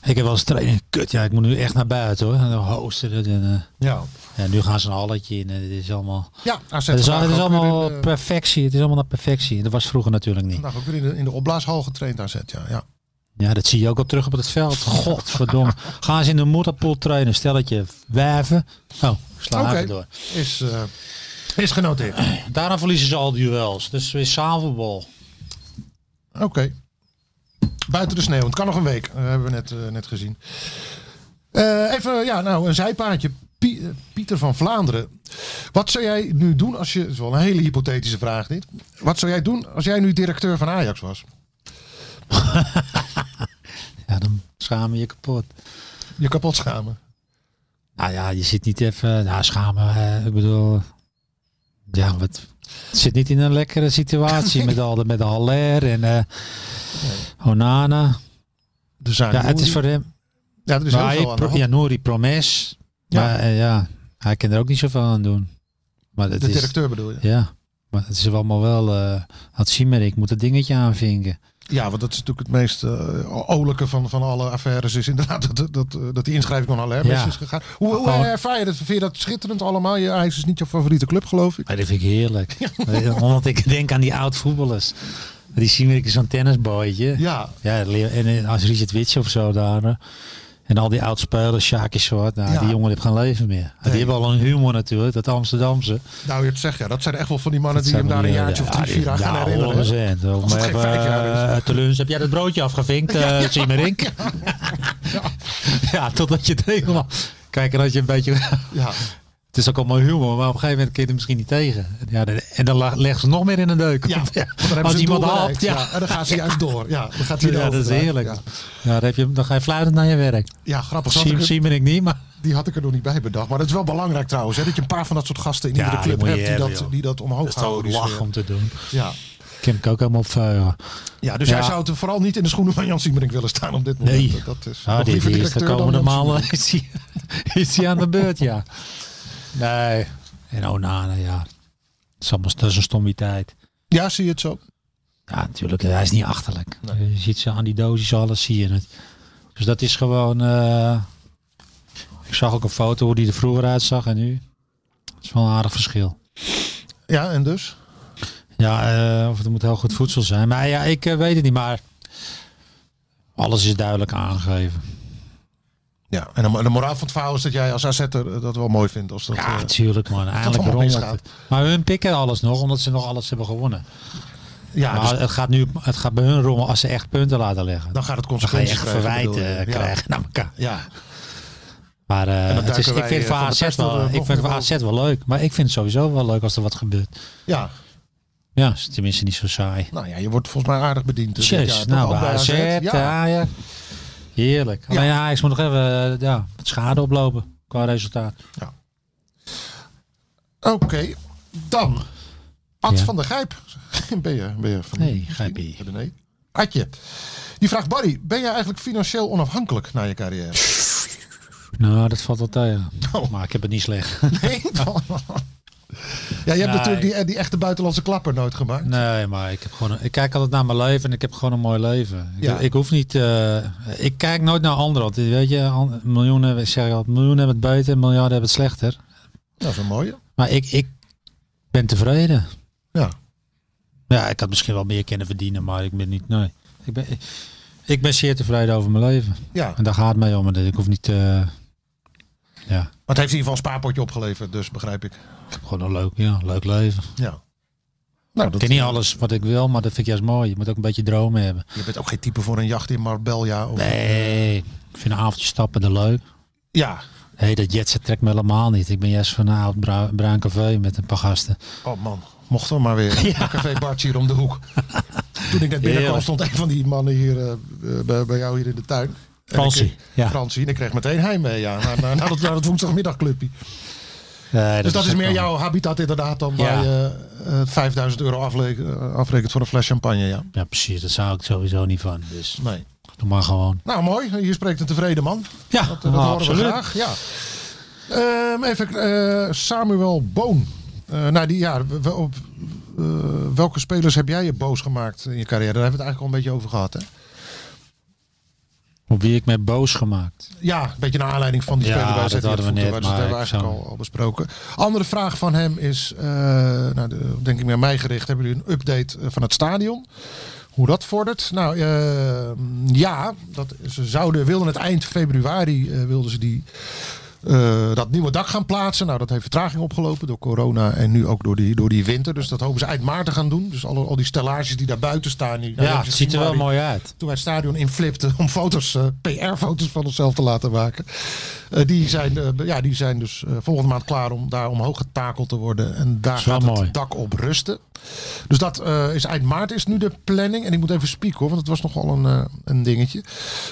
S6: Ik heb wel eens training. Kut, ja, ik moet nu echt naar buiten hoor. En dan hosten het. En, eh,
S5: Ja,
S6: ja, nu gaan ze een halletje in. En het is allemaal,
S5: ja AZ
S6: het is, al-
S5: vandaag
S6: het is
S5: ook weer
S6: dus allemaal
S5: in, eh,
S6: perfectie. Het is allemaal naar perfectie. En Dat was vroeger natuurlijk niet.
S5: Vandaag ook weer in de, in de opblaashal getraind AZ, ja. ja.
S6: Ja, dat zie je ook op terug op het veld. Godverdomme. Gaan ze in de motorpool trainen. Stelletje wijven. Oh, ik sla
S5: Oké.
S6: even door.
S5: Is, eh, is genoteerd.
S6: Daarna verliezen ze al duels. Dus weer zaalvoetbal.
S5: Oké. Buiten de sneeuw. Het kan nog een week. Dat hebben we net, eh, net gezien. Eh, even, eh, ja, nou, een zijpaadje. Pie- eh, Pieter van Vlaanderen. Wat zou jij nu doen als je... Het is wel een hele hypothetische vraag dit. Wat zou jij doen als jij nu directeur van Ajax was?
S6: Ja, dan schamen je kapot.
S5: Je kapot schamen.
S6: Nou ja, je zit niet even... Nou, schamen. eh, ik bedoel... Ja, wat... Het zit niet in een lekkere situatie met al de, met de Haller en eh Onana.
S5: De zaak
S6: Ja, het
S5: Nouri.
S6: is voor hem.
S5: Ja, er is
S6: Maar
S5: heel
S6: hij,
S5: veel aan de
S6: pro,
S5: hand.
S6: ja, Nouri Promes.
S5: Ja.
S6: Maar eh, ja, hij kan er ook niet zoveel aan doen. Maar het
S5: De
S6: is,
S5: directeur bedoel je?
S6: Ja, maar het is allemaal wel. eh had Simmerik moet het dingetje aanvinken.
S5: Ja, want dat is natuurlijk het meest eh olijke van, van alle affaires. Is inderdaad dat, dat, eh, dat die inschrijving van Haller mis
S6: Ja.
S5: is gegaan. Hoe, hoe
S6: Gewoon-
S5: ervaar je dat? Vind je dat schitterend allemaal? Je Ajax is niet jouw favoriete club, geloof ik.
S6: Maar dat vind ik heerlijk. Omdat ik denk aan die oud voetballers. Die Simmerik is zo'n tennisbooitje.
S5: Ja,
S6: Ja, Leo- en eh, als Richard Witsch of zo daar. eh, En al die oud-spelers, Sjaakje Zwart. Nou,
S5: Ja.
S6: die jongen heeft geen leven meer. Die hebben al een humor natuurlijk, dat Amsterdamse.
S5: nou je het zegt, ja, dat zijn echt wel van die mannen
S6: Dat
S5: die hem
S6: zijn
S5: daar een
S6: die, eh,
S5: jaartje of
S6: ja,
S5: drie, vier aan
S6: die-
S5: gaan
S6: ja,
S5: herinneren. hè?
S6: 100%. Om
S5: het geen
S6: even,
S5: vijf jaar
S6: eh, te lunch. Heb jij dat broodje afgevinkt, eh Siemerink? Ja, totdat je het helemaal... Kijk, en als je een beetje...
S5: Ja,
S6: Het is ook allemaal humor, maar op een gegeven moment kun je het misschien niet tegen. Ja, de- en dan la- leggen ze nog meer in een deuk.
S5: ja. Want dan hebben
S6: Als
S5: ze
S6: iemand
S5: iemand
S6: haalt, ja.
S5: En dan gaan ze juist door. Ja, dan gaat hij
S6: Ja,
S5: erover
S6: dat is
S5: draaien.
S6: heerlijk.
S5: Ja,
S6: Ja. dan, heb je, dan ga je fluitend naar je werk.
S5: Ja, grappig. Zo had ik
S6: Siem,
S5: het-
S6: Siemerink niet, maar...
S5: die had ik er nog niet bij bedacht. Maar dat is wel belangrijk trouwens. Hè, dat je een paar van dat soort gasten in
S6: Ja,
S5: iedere
S6: die
S5: club
S6: moet je
S5: hebt die,
S6: hebben,
S5: dat,
S6: joh.
S5: die dat omhoog houden. die sfeer.
S6: om te doen.
S5: Ja.
S6: Ik heb ik ook helemaal op eh, Ah, vuil.
S5: Ja, dus
S6: Ja.
S5: hij zou het vooral niet in de schoenen van Jan Siemerink willen staan op dit moment.
S6: Nee.
S5: Dat, dat is
S6: Ah,
S5: nog
S6: die,
S5: liever
S6: die is de
S5: directeur dan
S6: komende
S5: Jan
S6: maanden
S5: Siemerink.
S6: is hij is die aan de beurt, ja. Nee. En Onana, ja. Dat is, allemaal, dat is een stommiteit.
S5: Ja, zie je het zo.
S6: Ja, natuurlijk. Hij is niet achterlijk. Je ziet ze aan die dosis, alles zie je het. Dus dat is gewoon... eh, ik zag ook een foto hoe die er vroeger uitzag en nu. Dat is wel een aardig verschil.
S5: Ja, en dus?
S6: Ja, eh, of het moet heel goed voedsel zijn. Maar ja, ik eh, weet het niet, maar... Alles is duidelijk aangegeven.
S5: Ja, en de, de moraal van het verhaal is dat jij als AZ'er eh, dat wel mooi vindt. Als dat,
S6: Ja,
S5: eh,
S6: natuurlijk man. Eigenlijk
S5: allemaal
S6: rommelt
S5: misgaat.
S6: het. Maar hun pikken alles nog, omdat ze nog alles hebben gewonnen.
S5: ja
S6: maar
S5: dus
S6: het gaat nu, het gaat bij hun rommel als ze echt punten laten leggen.
S5: dan gaat het
S6: Dan ga je
S5: consequenties
S6: echt
S5: krijgen,
S6: verwijten
S5: bedoel je.
S6: eh, krijgen naar elkaar.
S5: Ja,
S6: Maar eh,
S5: dan
S6: het is,
S5: duiken
S6: ik
S5: wij,
S6: vind
S5: eh,
S6: voor
S5: van de
S6: AZ
S5: pers tot, eh,
S6: wel, ik
S5: nog
S6: vind
S5: meer
S6: voor AZ wel leuk. Maar ik vind het sowieso wel leuk als er wat gebeurt.
S5: ja. ja,
S6: Ja, is tenminste niet zo saai.
S5: nou ja, je wordt volgens mij aardig bediend. eh, dit
S6: Tjus,
S5: jaar,
S6: nou
S5: toch?
S6: bij
S5: Ook
S6: AZ,
S5: Ja.
S6: Ajax. Heerlijk. Alleen Ajax moet nog even eh, ja, wat schade oplopen qua resultaat.
S5: Oké, dan. Ad
S6: Ja.
S5: van der Gijp. Ben je, ben je van
S6: Nee, Gijpie.
S5: René? Adje. Die vraagt Barry, ben jij eigenlijk financieel onafhankelijk na je carrière?
S6: Nou, dat valt wel tegen.
S5: Oh.
S6: Maar ik heb het niet slecht.
S5: Nee, dan- Ja, je
S6: Nee.
S5: hebt natuurlijk die, die echte buitenlandse klapper nooit gemaakt.
S6: Nee, maar ik, heb gewoon, ik kijk altijd naar mijn leven en ik heb gewoon een mooi leven. Ik,
S5: Ja.
S6: ik hoef niet. eh, ik kijk nooit naar anderen. Want, weet je, an- miljoenen, ik zeg altijd, miljoenen hebben het beter, miljarden hebben het slechter.
S5: Dat is een mooie.
S6: Maar ik, ik ben tevreden.
S5: Ja.
S6: Ja, ik had misschien wel meer kunnen verdienen, maar ik ben niet. Nee. Ik ben, ik ben zeer tevreden over mijn leven.
S5: Ja,
S6: En daar gaat het mij om. En Ik hoef niet. eh, ja,
S5: maar het heeft in ieder geval een spaarpotje opgeleverd, dus begrijp ik.
S6: ik heb gewoon een leuk, ja, leuk leven.
S5: Ja. Nou,
S6: ik
S5: dat,
S6: ken niet alles wat ik wil, maar dat vind ik juist mooi. Je moet ook een beetje dromen hebben.
S5: je bent ook geen type voor een jacht in Marbella. Of,
S6: Nee, ik vind een avondje stappen er leuk.
S5: Ja.
S6: Nee, dat jetset trekt me helemaal niet. Ik ben juist van een oud bra- bruin café met een paar gasten.
S5: Oh man, mocht er maar weer. Ja. Café Bartje hier om de hoek. Toen ik net binnenkwam
S6: Heerlijk.
S5: stond een van die mannen hier eh, bij, bij jou hier in de tuin. En
S6: Fransie,
S5: ik-
S6: ja.
S5: Fransie. En ik kreeg meteen heimwee ja, naar, naar, naar, dat, naar dat woensdagmiddagclubje.
S6: Nee,
S5: Dus dat is
S6: ook
S5: meer
S6: wel-
S5: jouw habitat inderdaad dan
S6: Ja.
S5: waar je eh, 5000 euro afle- eh, afrekent voor een fles champagne. Ja.
S6: Ja, precies. Daar zou ik sowieso niet van. Dus
S5: Nee.
S6: doe maar gewoon. eh,
S5: Nou, mooi. Hier spreekt een tevreden man.
S6: Ja,
S5: Dat, dat horen we graag. Ja. Ehm, even eh, Samuel Boon. Eh nou, die, ja, we- we- op, eh, welke spelers heb jij je boos gemaakt in je carrière? Daar hebben we het eigenlijk al een beetje over gehad. Hè?
S6: Op wie ik me heb boos gemaakt.
S5: Ja, een beetje naar aanleiding van die
S6: Ja,
S5: speler bij
S6: dat
S5: AZ die
S6: hadden we
S5: op voeten
S6: net,
S5: was.
S6: maar
S5: dat hebben we
S6: ik
S5: eigenlijk
S6: zou-
S5: al, al besproken. Andere vraag van hem is, eh, nou, de- denk ik naar mij gericht. Hebben jullie een update eh, van het stadion? Hoe dat vordert? Nou, eh, ja, dat, ze zouden, wilden het eind februari eh, wilden ze die, eh, dat nieuwe dak gaan plaatsen. Nou, dat heeft vertraging opgelopen door corona en nu ook door die, door die winter. Dus dat hopen ze eind maart te gaan doen. Dus alle, al die stellages die daar buiten staan. Die, nou, die
S6: ja,
S5: hebben
S6: het
S5: ze
S6: ziet er wel
S5: gezien, maar die-
S6: mooi uit.
S5: toen wij het stadion inflipten om foto's, eh, PR-foto's van onszelf te laten maken. Eh, die, zijn, eh, ja, die zijn dus eh, volgende maand klaar om daar omhoog getakeld te worden. En daar
S6: Is wel
S5: gaat
S6: mooi.
S5: het dak op rusten. Dus dat eh, is eind maart is nu de planning. En ik moet even spieken hoor, want het was nogal een, eh, een dingetje.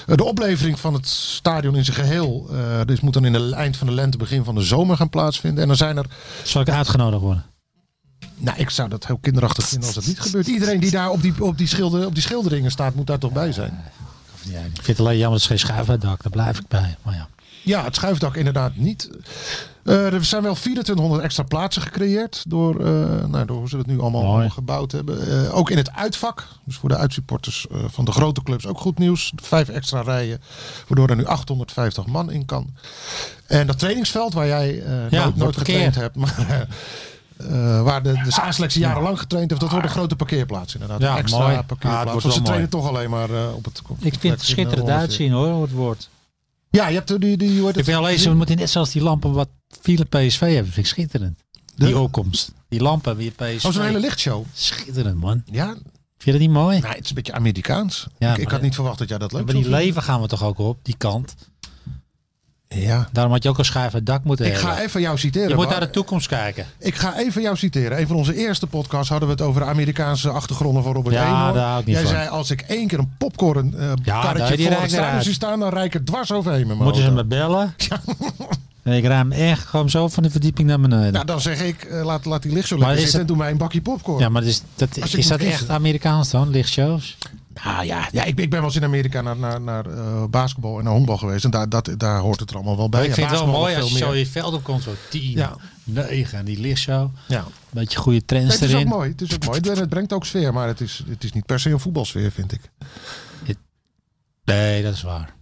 S5: Eh, de oplevering van het stadion in zijn geheel eh, dus moet dan in het eind van de lente, begin van de zomer gaan plaatsvinden. En dan zijn er
S6: Zal ik uitgenodigd worden?
S5: nou, ik zou dat heel kinderachtig vinden als dat niet gebeurt. Iedereen die daar op die, op die, schilder, op die schilderingen staat, moet daar toch bij zijn.
S6: Ja, ik vind het alleen jammer dat er geen schuif bij het dak. Daar blijf ik bij. Maar ja.
S5: Ja, het schuifdak inderdaad niet. Eh, er zijn wel 2400 extra plaatsen gecreëerd door, eh, nou, door hoe ze dat nu allemaal,
S6: Mooi.
S5: allemaal gebouwd hebben. Eh, ook in het uitvak, dus voor de uitsupporters eh, van de grote clubs ook goed nieuws. Vijf extra rijen, waardoor er nu 850 man in kan. En dat trainingsveld waar jij eh, nooit,
S6: wordt
S5: nooit getraind
S6: parkeer.
S5: hebt, maar, eh, waar de, de A-selectie jarenlang getraind heeft, dat wordt een grote parkeerplaats inderdaad.
S6: Ja,
S5: Een extra
S6: mooi. Ah,
S5: parkeerplaats,
S6: het wordt
S5: want ze
S6: wel
S5: trainen toch alleen maar eh, op het op de
S6: Ik
S5: plek
S6: vind
S5: in,
S6: het
S5: eh,
S6: schitterend
S5: Hollensveen.
S6: uitzien hoor, hoe het wordt.
S5: Ja, je hebt eh, die... die hoe heet
S6: Ik
S5: het?
S6: vind alleen, we moeten net zoals die lampen wat Philip PSV hebben. Vind ik schitterend. Die
S5: De-
S6: opkomst. Die lampen weer PSV.
S5: Oh, zo'n hele lichtshow.
S6: Schitterend man.
S5: Ja,
S6: Vind je dat niet mooi?
S5: nou, het is een beetje Amerikaans.
S6: Ja,
S5: ik ik
S6: maar-
S5: had niet verwacht dat jij dat leuk
S6: maar die
S5: zou
S6: leven gaan we toch ook op, die kant.
S5: vinden. Ja.
S6: Daarom had je ook een schuif bij het dak moeten
S5: Ik
S6: hebben.
S5: ga even jou citeren.
S6: je moet
S5: Bart.
S6: naar de toekomst kijken.
S5: Ik ga even jou citeren. Een van onze eerste podcasts hadden we het over de Amerikaanse achtergronden van Robert
S6: Ja,
S5: Eenhoorn.
S6: daar hou ik niet
S5: Jij
S6: van.
S5: zei, als ik één keer een popcorn eh
S6: Ja, daar-
S5: karretje
S6: die
S5: voor
S6: raakt
S5: het stadion
S6: eruit.
S5: zie staan, dan rijk ik er dwars overheen met mijn
S6: Moeten ze
S5: auto.
S6: me bellen? Nee, Ik raam echt gewoon zo van de verdieping naar beneden.
S5: Nou, dan zeg ik, eh, laat, laat die licht zo
S6: Maar
S5: lekker
S6: is
S5: zitten
S6: het-
S5: en doe mij een bakje popcorn.
S6: ja, maar dat is dat,
S5: Als
S6: is
S5: ik moet
S6: dat
S5: kiezen.
S6: echt Amerikaans dan? Lichtshows?
S5: Nou ja, ja ik, ben- ik ben wel eens in Amerika naar, naar, naar eh, basketbal en naar honkbal geweest. En daar, dat, daar hoort het er allemaal wel bij.
S6: ik
S5: Ja,
S6: vind het wel
S5: basketbal
S6: mooi
S5: nog
S6: als je
S5: veel
S6: zo
S5: meer.
S6: je veld op komt. Zo 10,
S5: Ja.
S6: 9 en die lichtshow.
S5: Ja.
S6: Beetje goede trends
S5: Nee, het is ook
S6: erin.
S5: mooi. Het is ook mooi. En Het brengt ook sfeer, maar het is, het is niet per se een voetbalsfeer, vind ik.
S6: Nee, dat is waar.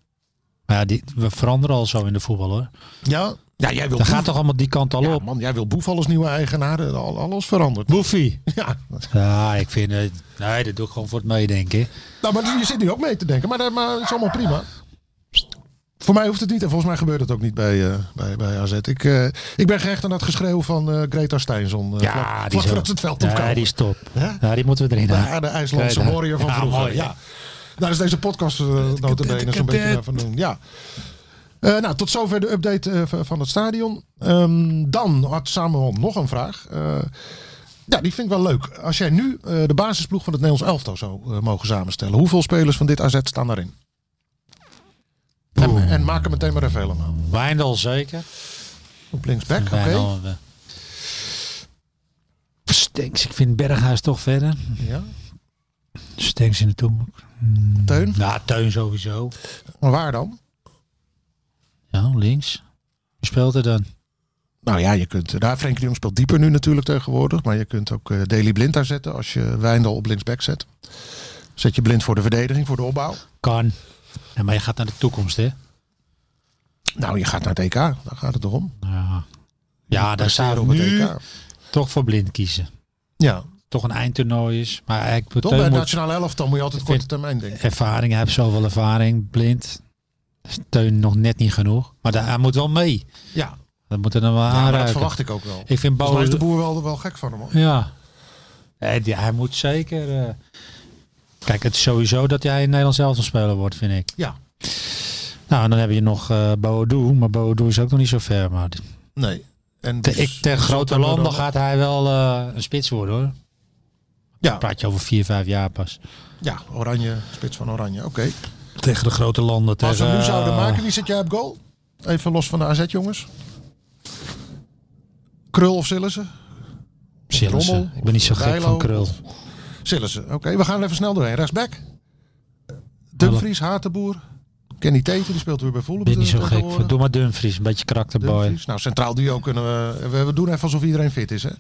S6: Maar ja, die, we veranderen al zo in de voetbal hoor.
S5: Ja, ja jij wil
S6: Dan
S5: Boef-
S6: gaat toch allemaal die kant al
S5: Ja,
S6: op.
S5: man, jij wil Boef als nieuwe eigenaar. eh, al- Alles verandert.
S6: Boefie.
S5: Ja.
S6: Ja, ik vind het. Nee, dat doe ik gewoon voor het meedenken.
S5: Nou, maar je zit nu ook mee te denken. Maar dat maar het is allemaal prima. Voor mij hoeft het niet. En volgens mij gebeurt het ook niet bij, eh, bij, bij AZ. Ik, eh, ik ben gehecht aan dat geschreeuw van eh, Greta Steinson. eh, vlak- vlak
S6: is
S5: voordat
S6: ook-
S5: ze het veld
S6: Ja,
S5: opkomen.
S6: die is top.
S5: Hè?
S6: Ja, die moeten we erin
S5: Ja,
S6: halen.
S5: de IJslandse
S6: Greta.
S5: warrior van
S6: Ja,
S5: vroeger.
S6: mooi,
S5: ja. Daar is deze podcast eh nota bene zo'n beetje naar van doen. Ja. Eh, nou, tot zover de update eh, van- van het stadion. Ehm, dan had Samuel nog een vraag. Eh, ja, die vind ik wel leuk. Als jij nu eh, de basisploeg van het Nederlands elftal zou eh, mogen samenstellen. Hoeveel spelers van dit AZ staan daarin? En, en maak er meteen maar even helemaal.
S6: Wijndal zeker.
S5: Op linksback, oké.
S6: Wijndal, eh, Stenks, ik vind Berghuis toch verder.
S5: Ja.
S6: Stenks in de toonhoek.
S5: Teun,
S6: Nou, Teun sowieso.
S5: maar waar dan?
S6: Ja, links. Wie speelt er dan?
S5: Nou ja, je kunt. Daar Frenkie de Jong speelt dieper nu natuurlijk tegenwoordig. Maar je kunt ook eh Daily Blind daar zetten als je Wijndal op linksback zet. Zet je blind voor de verdediging, voor de opbouw.
S6: Kan. Ja, maar je gaat naar de toekomst, hè?
S5: Nou, je gaat naar het EK. Daar gaat het toch om.
S6: Nou Ja, ja daar
S5: Presteren
S6: zou ik nu toch voor blind kiezen.
S5: Ja.
S6: Toch een eindtoernooi is. Maar eigenlijk
S5: Toch bij
S6: Teun
S5: het
S6: moet-
S5: nationale elftal moet je altijd
S6: Ik
S5: korte
S6: vind-
S5: termijn denken.
S6: ervaring. Hij heeft zoveel ervaring. Blind. Steun nog net niet genoeg. Maar daar, hij moet wel mee.
S5: Ja,
S6: Dat moet er dan wel
S5: ja maar dat
S6: aanraken.
S5: verwacht ik ook wel.
S6: ik vind
S5: Volgens mij
S6: Bauer...
S5: is de boer wel, wel gek van hem. hoor.
S6: Ja. Nee, die- hij moet zeker... eh, Kijk, het is sowieso dat hij in Nederland zelf een speler wordt, vind ik.
S5: Ja.
S6: Nou, en dan heb je nog eh Boadu. Maar Boadu is ook nog niet zo ver. Maar
S5: Nee. En
S6: te,
S5: dus-
S6: ik, ten grote
S5: Zotero
S6: landen
S5: dan-
S6: gaat hij wel eh, een spits worden, hoor.
S5: Ja,
S6: Praat je over vier, vijf jaar pas.
S5: ja, oranje, spits van oranje. Oké.
S6: Tegen de grote landen.
S5: Als we
S6: tegen,
S5: hem nu zouden
S6: eh,
S5: maken, wie zit jij op goal? Even los van de AZ jongens. Krul of Sillissen?
S6: Sillissen.
S5: Drommel
S6: Ik ben niet zo
S5: of
S6: gek
S5: Bijlo
S6: van Krul.
S5: of- Sillissen. Oké, we gaan er even snel doorheen. Rechtsback. Dumfries, Hatenboer. Kenny Teten, die speelt weer bij Fulham.
S6: ben niet zo gek
S5: tegenwoordig.
S6: van. Doe maar Dumfries, een beetje karakterboy.
S5: Dumfries. Nou, centraal duo kunnen we... We we doen even alsof iedereen fit is, hè.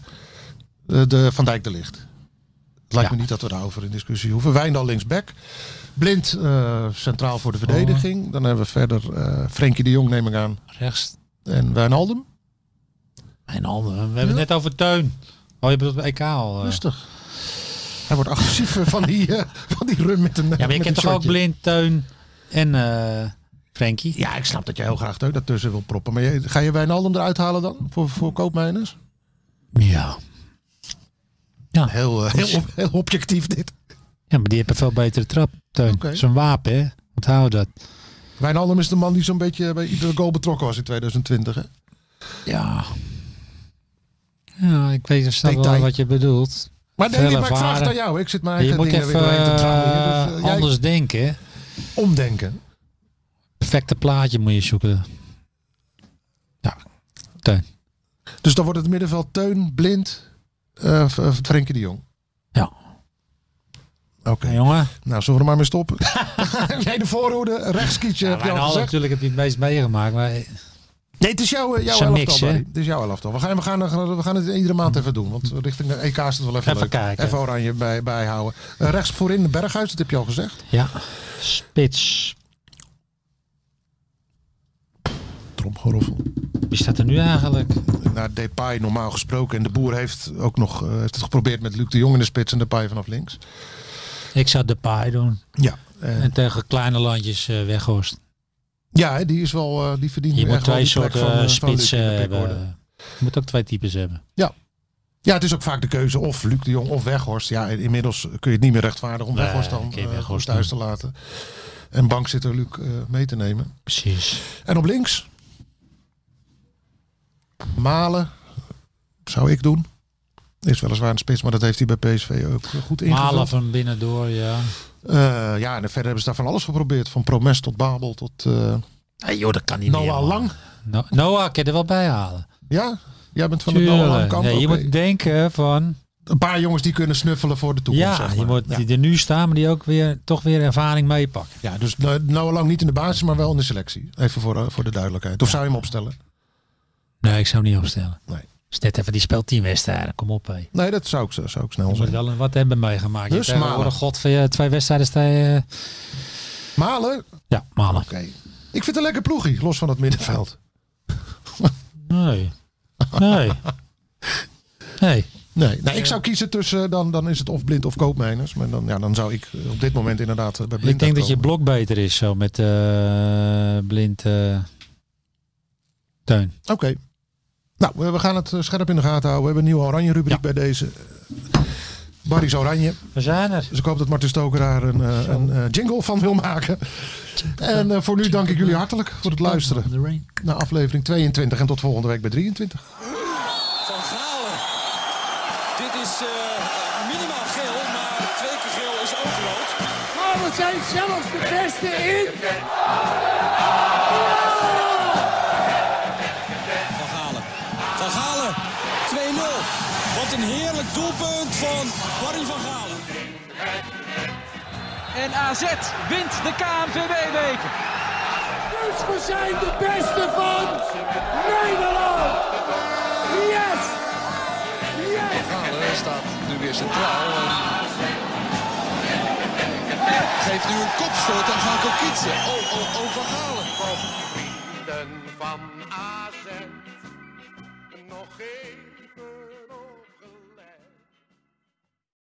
S5: Eh, De Van Dijk de Licht. Het lijkt
S6: Ja.
S5: me niet dat we daarover in discussie hoeven. Wijndal linksback. Blind eh, centraal voor de
S6: Oh.
S5: verdediging. Dan hebben we verder eh Frenkie de Jong neem ik aan.
S6: Rechts.
S5: En Wijnaldum.
S6: Mijn handen. We hebben het net over Teun. Oh, je bedoelt bij EK al. eh.
S5: Rustig. Hij wordt agressief eh, van die, eh, van die run met een
S6: Ja, maar je kent toch ook Blind, Teun en eh Frenkie?
S5: Ja, ik snap dat jij heel graag Teun daartussen wil proppen. Maar je- ga je Wijnaldum eruit halen dan? Voor, voor koopmijners?
S6: Ja.
S5: Heel, eh, heel, op- heel objectief dit.
S6: Ja, maar die hebben veel betere trap, Teun.
S5: Oké.
S6: Zijn wapen, hè? Onthoud dat.
S5: Wijnaldum is de man die zo'n beetje bij iedere goal betrokken was in 2020. Hè?
S6: Ja. Ja, ik weet er snel wel
S5: Detail.
S6: wat je bedoelt.
S5: Maar nee,
S6: Veel
S5: maar ik vraag het
S6: ervaren.
S5: aan jou. Ik zit mijn
S6: je
S5: eigen
S6: moet
S5: dingen
S6: even
S5: weer doorheen te trouwen. hier. Dus,
S6: eh,
S5: eh, jij
S6: anders denken. hè.
S5: omdenken.
S6: Perfecte plaatje moet je zoeken. Ja, Teun.
S5: Dus dan wordt het middenveld Teun, Blind, eh F- eh, Frenkie de Jong.
S6: Ja.
S5: Oké,
S6: Ja, jongen.
S5: nou zullen we er maar mee stoppen. Jij de voorhoede, rechtskietje
S6: Ja,
S5: heb je
S6: Wijnaldum
S5: al gezegd.
S6: natuurlijk heb je het meest meegemaakt. Maar
S5: Nee, het is jouw, eh, jouw
S6: Zijn
S5: elftal,
S6: mix, hè?
S5: Barry. Het is jouw elftal. We gaan, we, gaan, we gaan het iedere maand even doen. Want richting de EK is het wel even,
S6: Even
S5: leuk.
S6: kijken.
S5: Even oranje bij, bijhouden. Eh, rechts voorin de Berghuis, dat heb je al gezegd.
S6: ja, spits.
S5: Tromgeroffel.
S6: Wie staat er nu eigenlijk?
S5: Naar Depay normaal gesproken. En de boer heeft ook nog eh, heeft het geprobeerd met Luc de Jong in de spits en Depay vanaf links.
S6: Ik zou de paai doen.
S5: Ja. eh,
S6: En tegen kleine landjes eh weghorst.
S5: ja, hè, die is wel, eh, die verdient
S6: Je
S5: echt
S6: moet
S5: wel
S6: twee
S5: die plek
S6: soorten
S5: van, eh,
S6: eh,
S5: van Luc in
S6: spitsen
S5: de pickorde.
S6: hebben. Je moet ook twee types hebben.
S5: Ja, het is ook vaak de keuze of Luc de Jong of Weghorst. Ja, inmiddels kun je het niet meer rechtvaardigen om
S6: Nee,
S5: Weghorst dan
S6: kun je
S5: eh,
S6: Weghorst
S5: thuis te laten. En bankzitter Luc eh, mee te nemen.
S6: Precies.
S5: En op links? Malen zou ik doen. Is weliswaar een spits, maar dat heeft hij bij PSV ook eh, goed ingevuld.
S6: Malen van binnendoor, ja.
S5: Eh, ja, en verder hebben ze daar van alles geprobeerd. Van Promes tot Babel tot eh
S6: Hey, joh, dat kan niet
S5: Noah Lang.
S6: No Noah kan je er wel bij halen.
S5: Ja, jij bent van de
S6: Tuurlijk.
S5: Noah Lang kant.
S6: nee, je
S5: Oké.
S6: moet denken van...
S5: Een paar jongens die kunnen snuffelen voor de toekomst.
S6: ja,
S5: zeg maar.
S6: je moet die er nu staan, maar die ook weer, toch weer ervaring meepakken.
S5: Ja, dus no- Noah Lang niet in de basis, maar wel in de selectie. Even voor, eh, voor de duidelijkheid. Of zou je hem opstellen?
S6: Nee, ik zou hem niet opstellen.
S5: Nee.
S6: Is net even, die speelt tien wedstrijden. Kom op, hé.
S5: Nee, dat zou ik, zo- zou ik snel
S6: Je moet
S5: zijn.
S6: wel een wat hebben meegemaakt.
S5: Dus
S6: je hebt
S5: Malen.
S6: tegenwoordig, god, van je twee wedstrijden sta je... eh,
S5: Malen? Oké.
S6: Ja, Malen.
S5: Ik vind het een lekker ploegie, los van het middenveld.
S6: Nee. Nee. Nee.
S5: Nee, nou, ik zou kiezen tussen, dan, dan is het of blind of koopmijners. Maar dan, ja, dan zou ik eh, op dit moment inderdaad eh, bij blind
S6: Ik denk dat je
S5: uitkomen.
S6: blok beter is zo met eh, blind eh tuin.
S5: Oké. Nou, we- we gaan het eh, scherp in de gaten houden. We hebben een nieuwe oranje rubriek bij deze. Barry's Oranje.
S6: We zijn er.
S5: Dus ik hoop dat Marten Stoker daar een, eh, een eh, jingle van wil maken. En eh, voor nu dank ik jullie hartelijk voor het luisteren. naar aflevering 22 en tot volgende week bij 23.
S1: Van Galen. Dit is eh, minimaal geel, maar twee keer geel is ook rood.
S2: Maar we zijn zelfs de beste in.
S1: Van Galen. Van Galen. 2-0. Wat een heerlijk doelpunt van Barry van Galen.
S3: En AZ wint de KNVB-beker.
S2: Dus we zijn de beste van Nederland. Yes! Yes!
S4: Galen staat nu weer centraal. en Geeft nu een kopstoot aan Van Kokitje. Oh, oh, oh, Van Galen.
S7: Vrienden van AZ. Nog één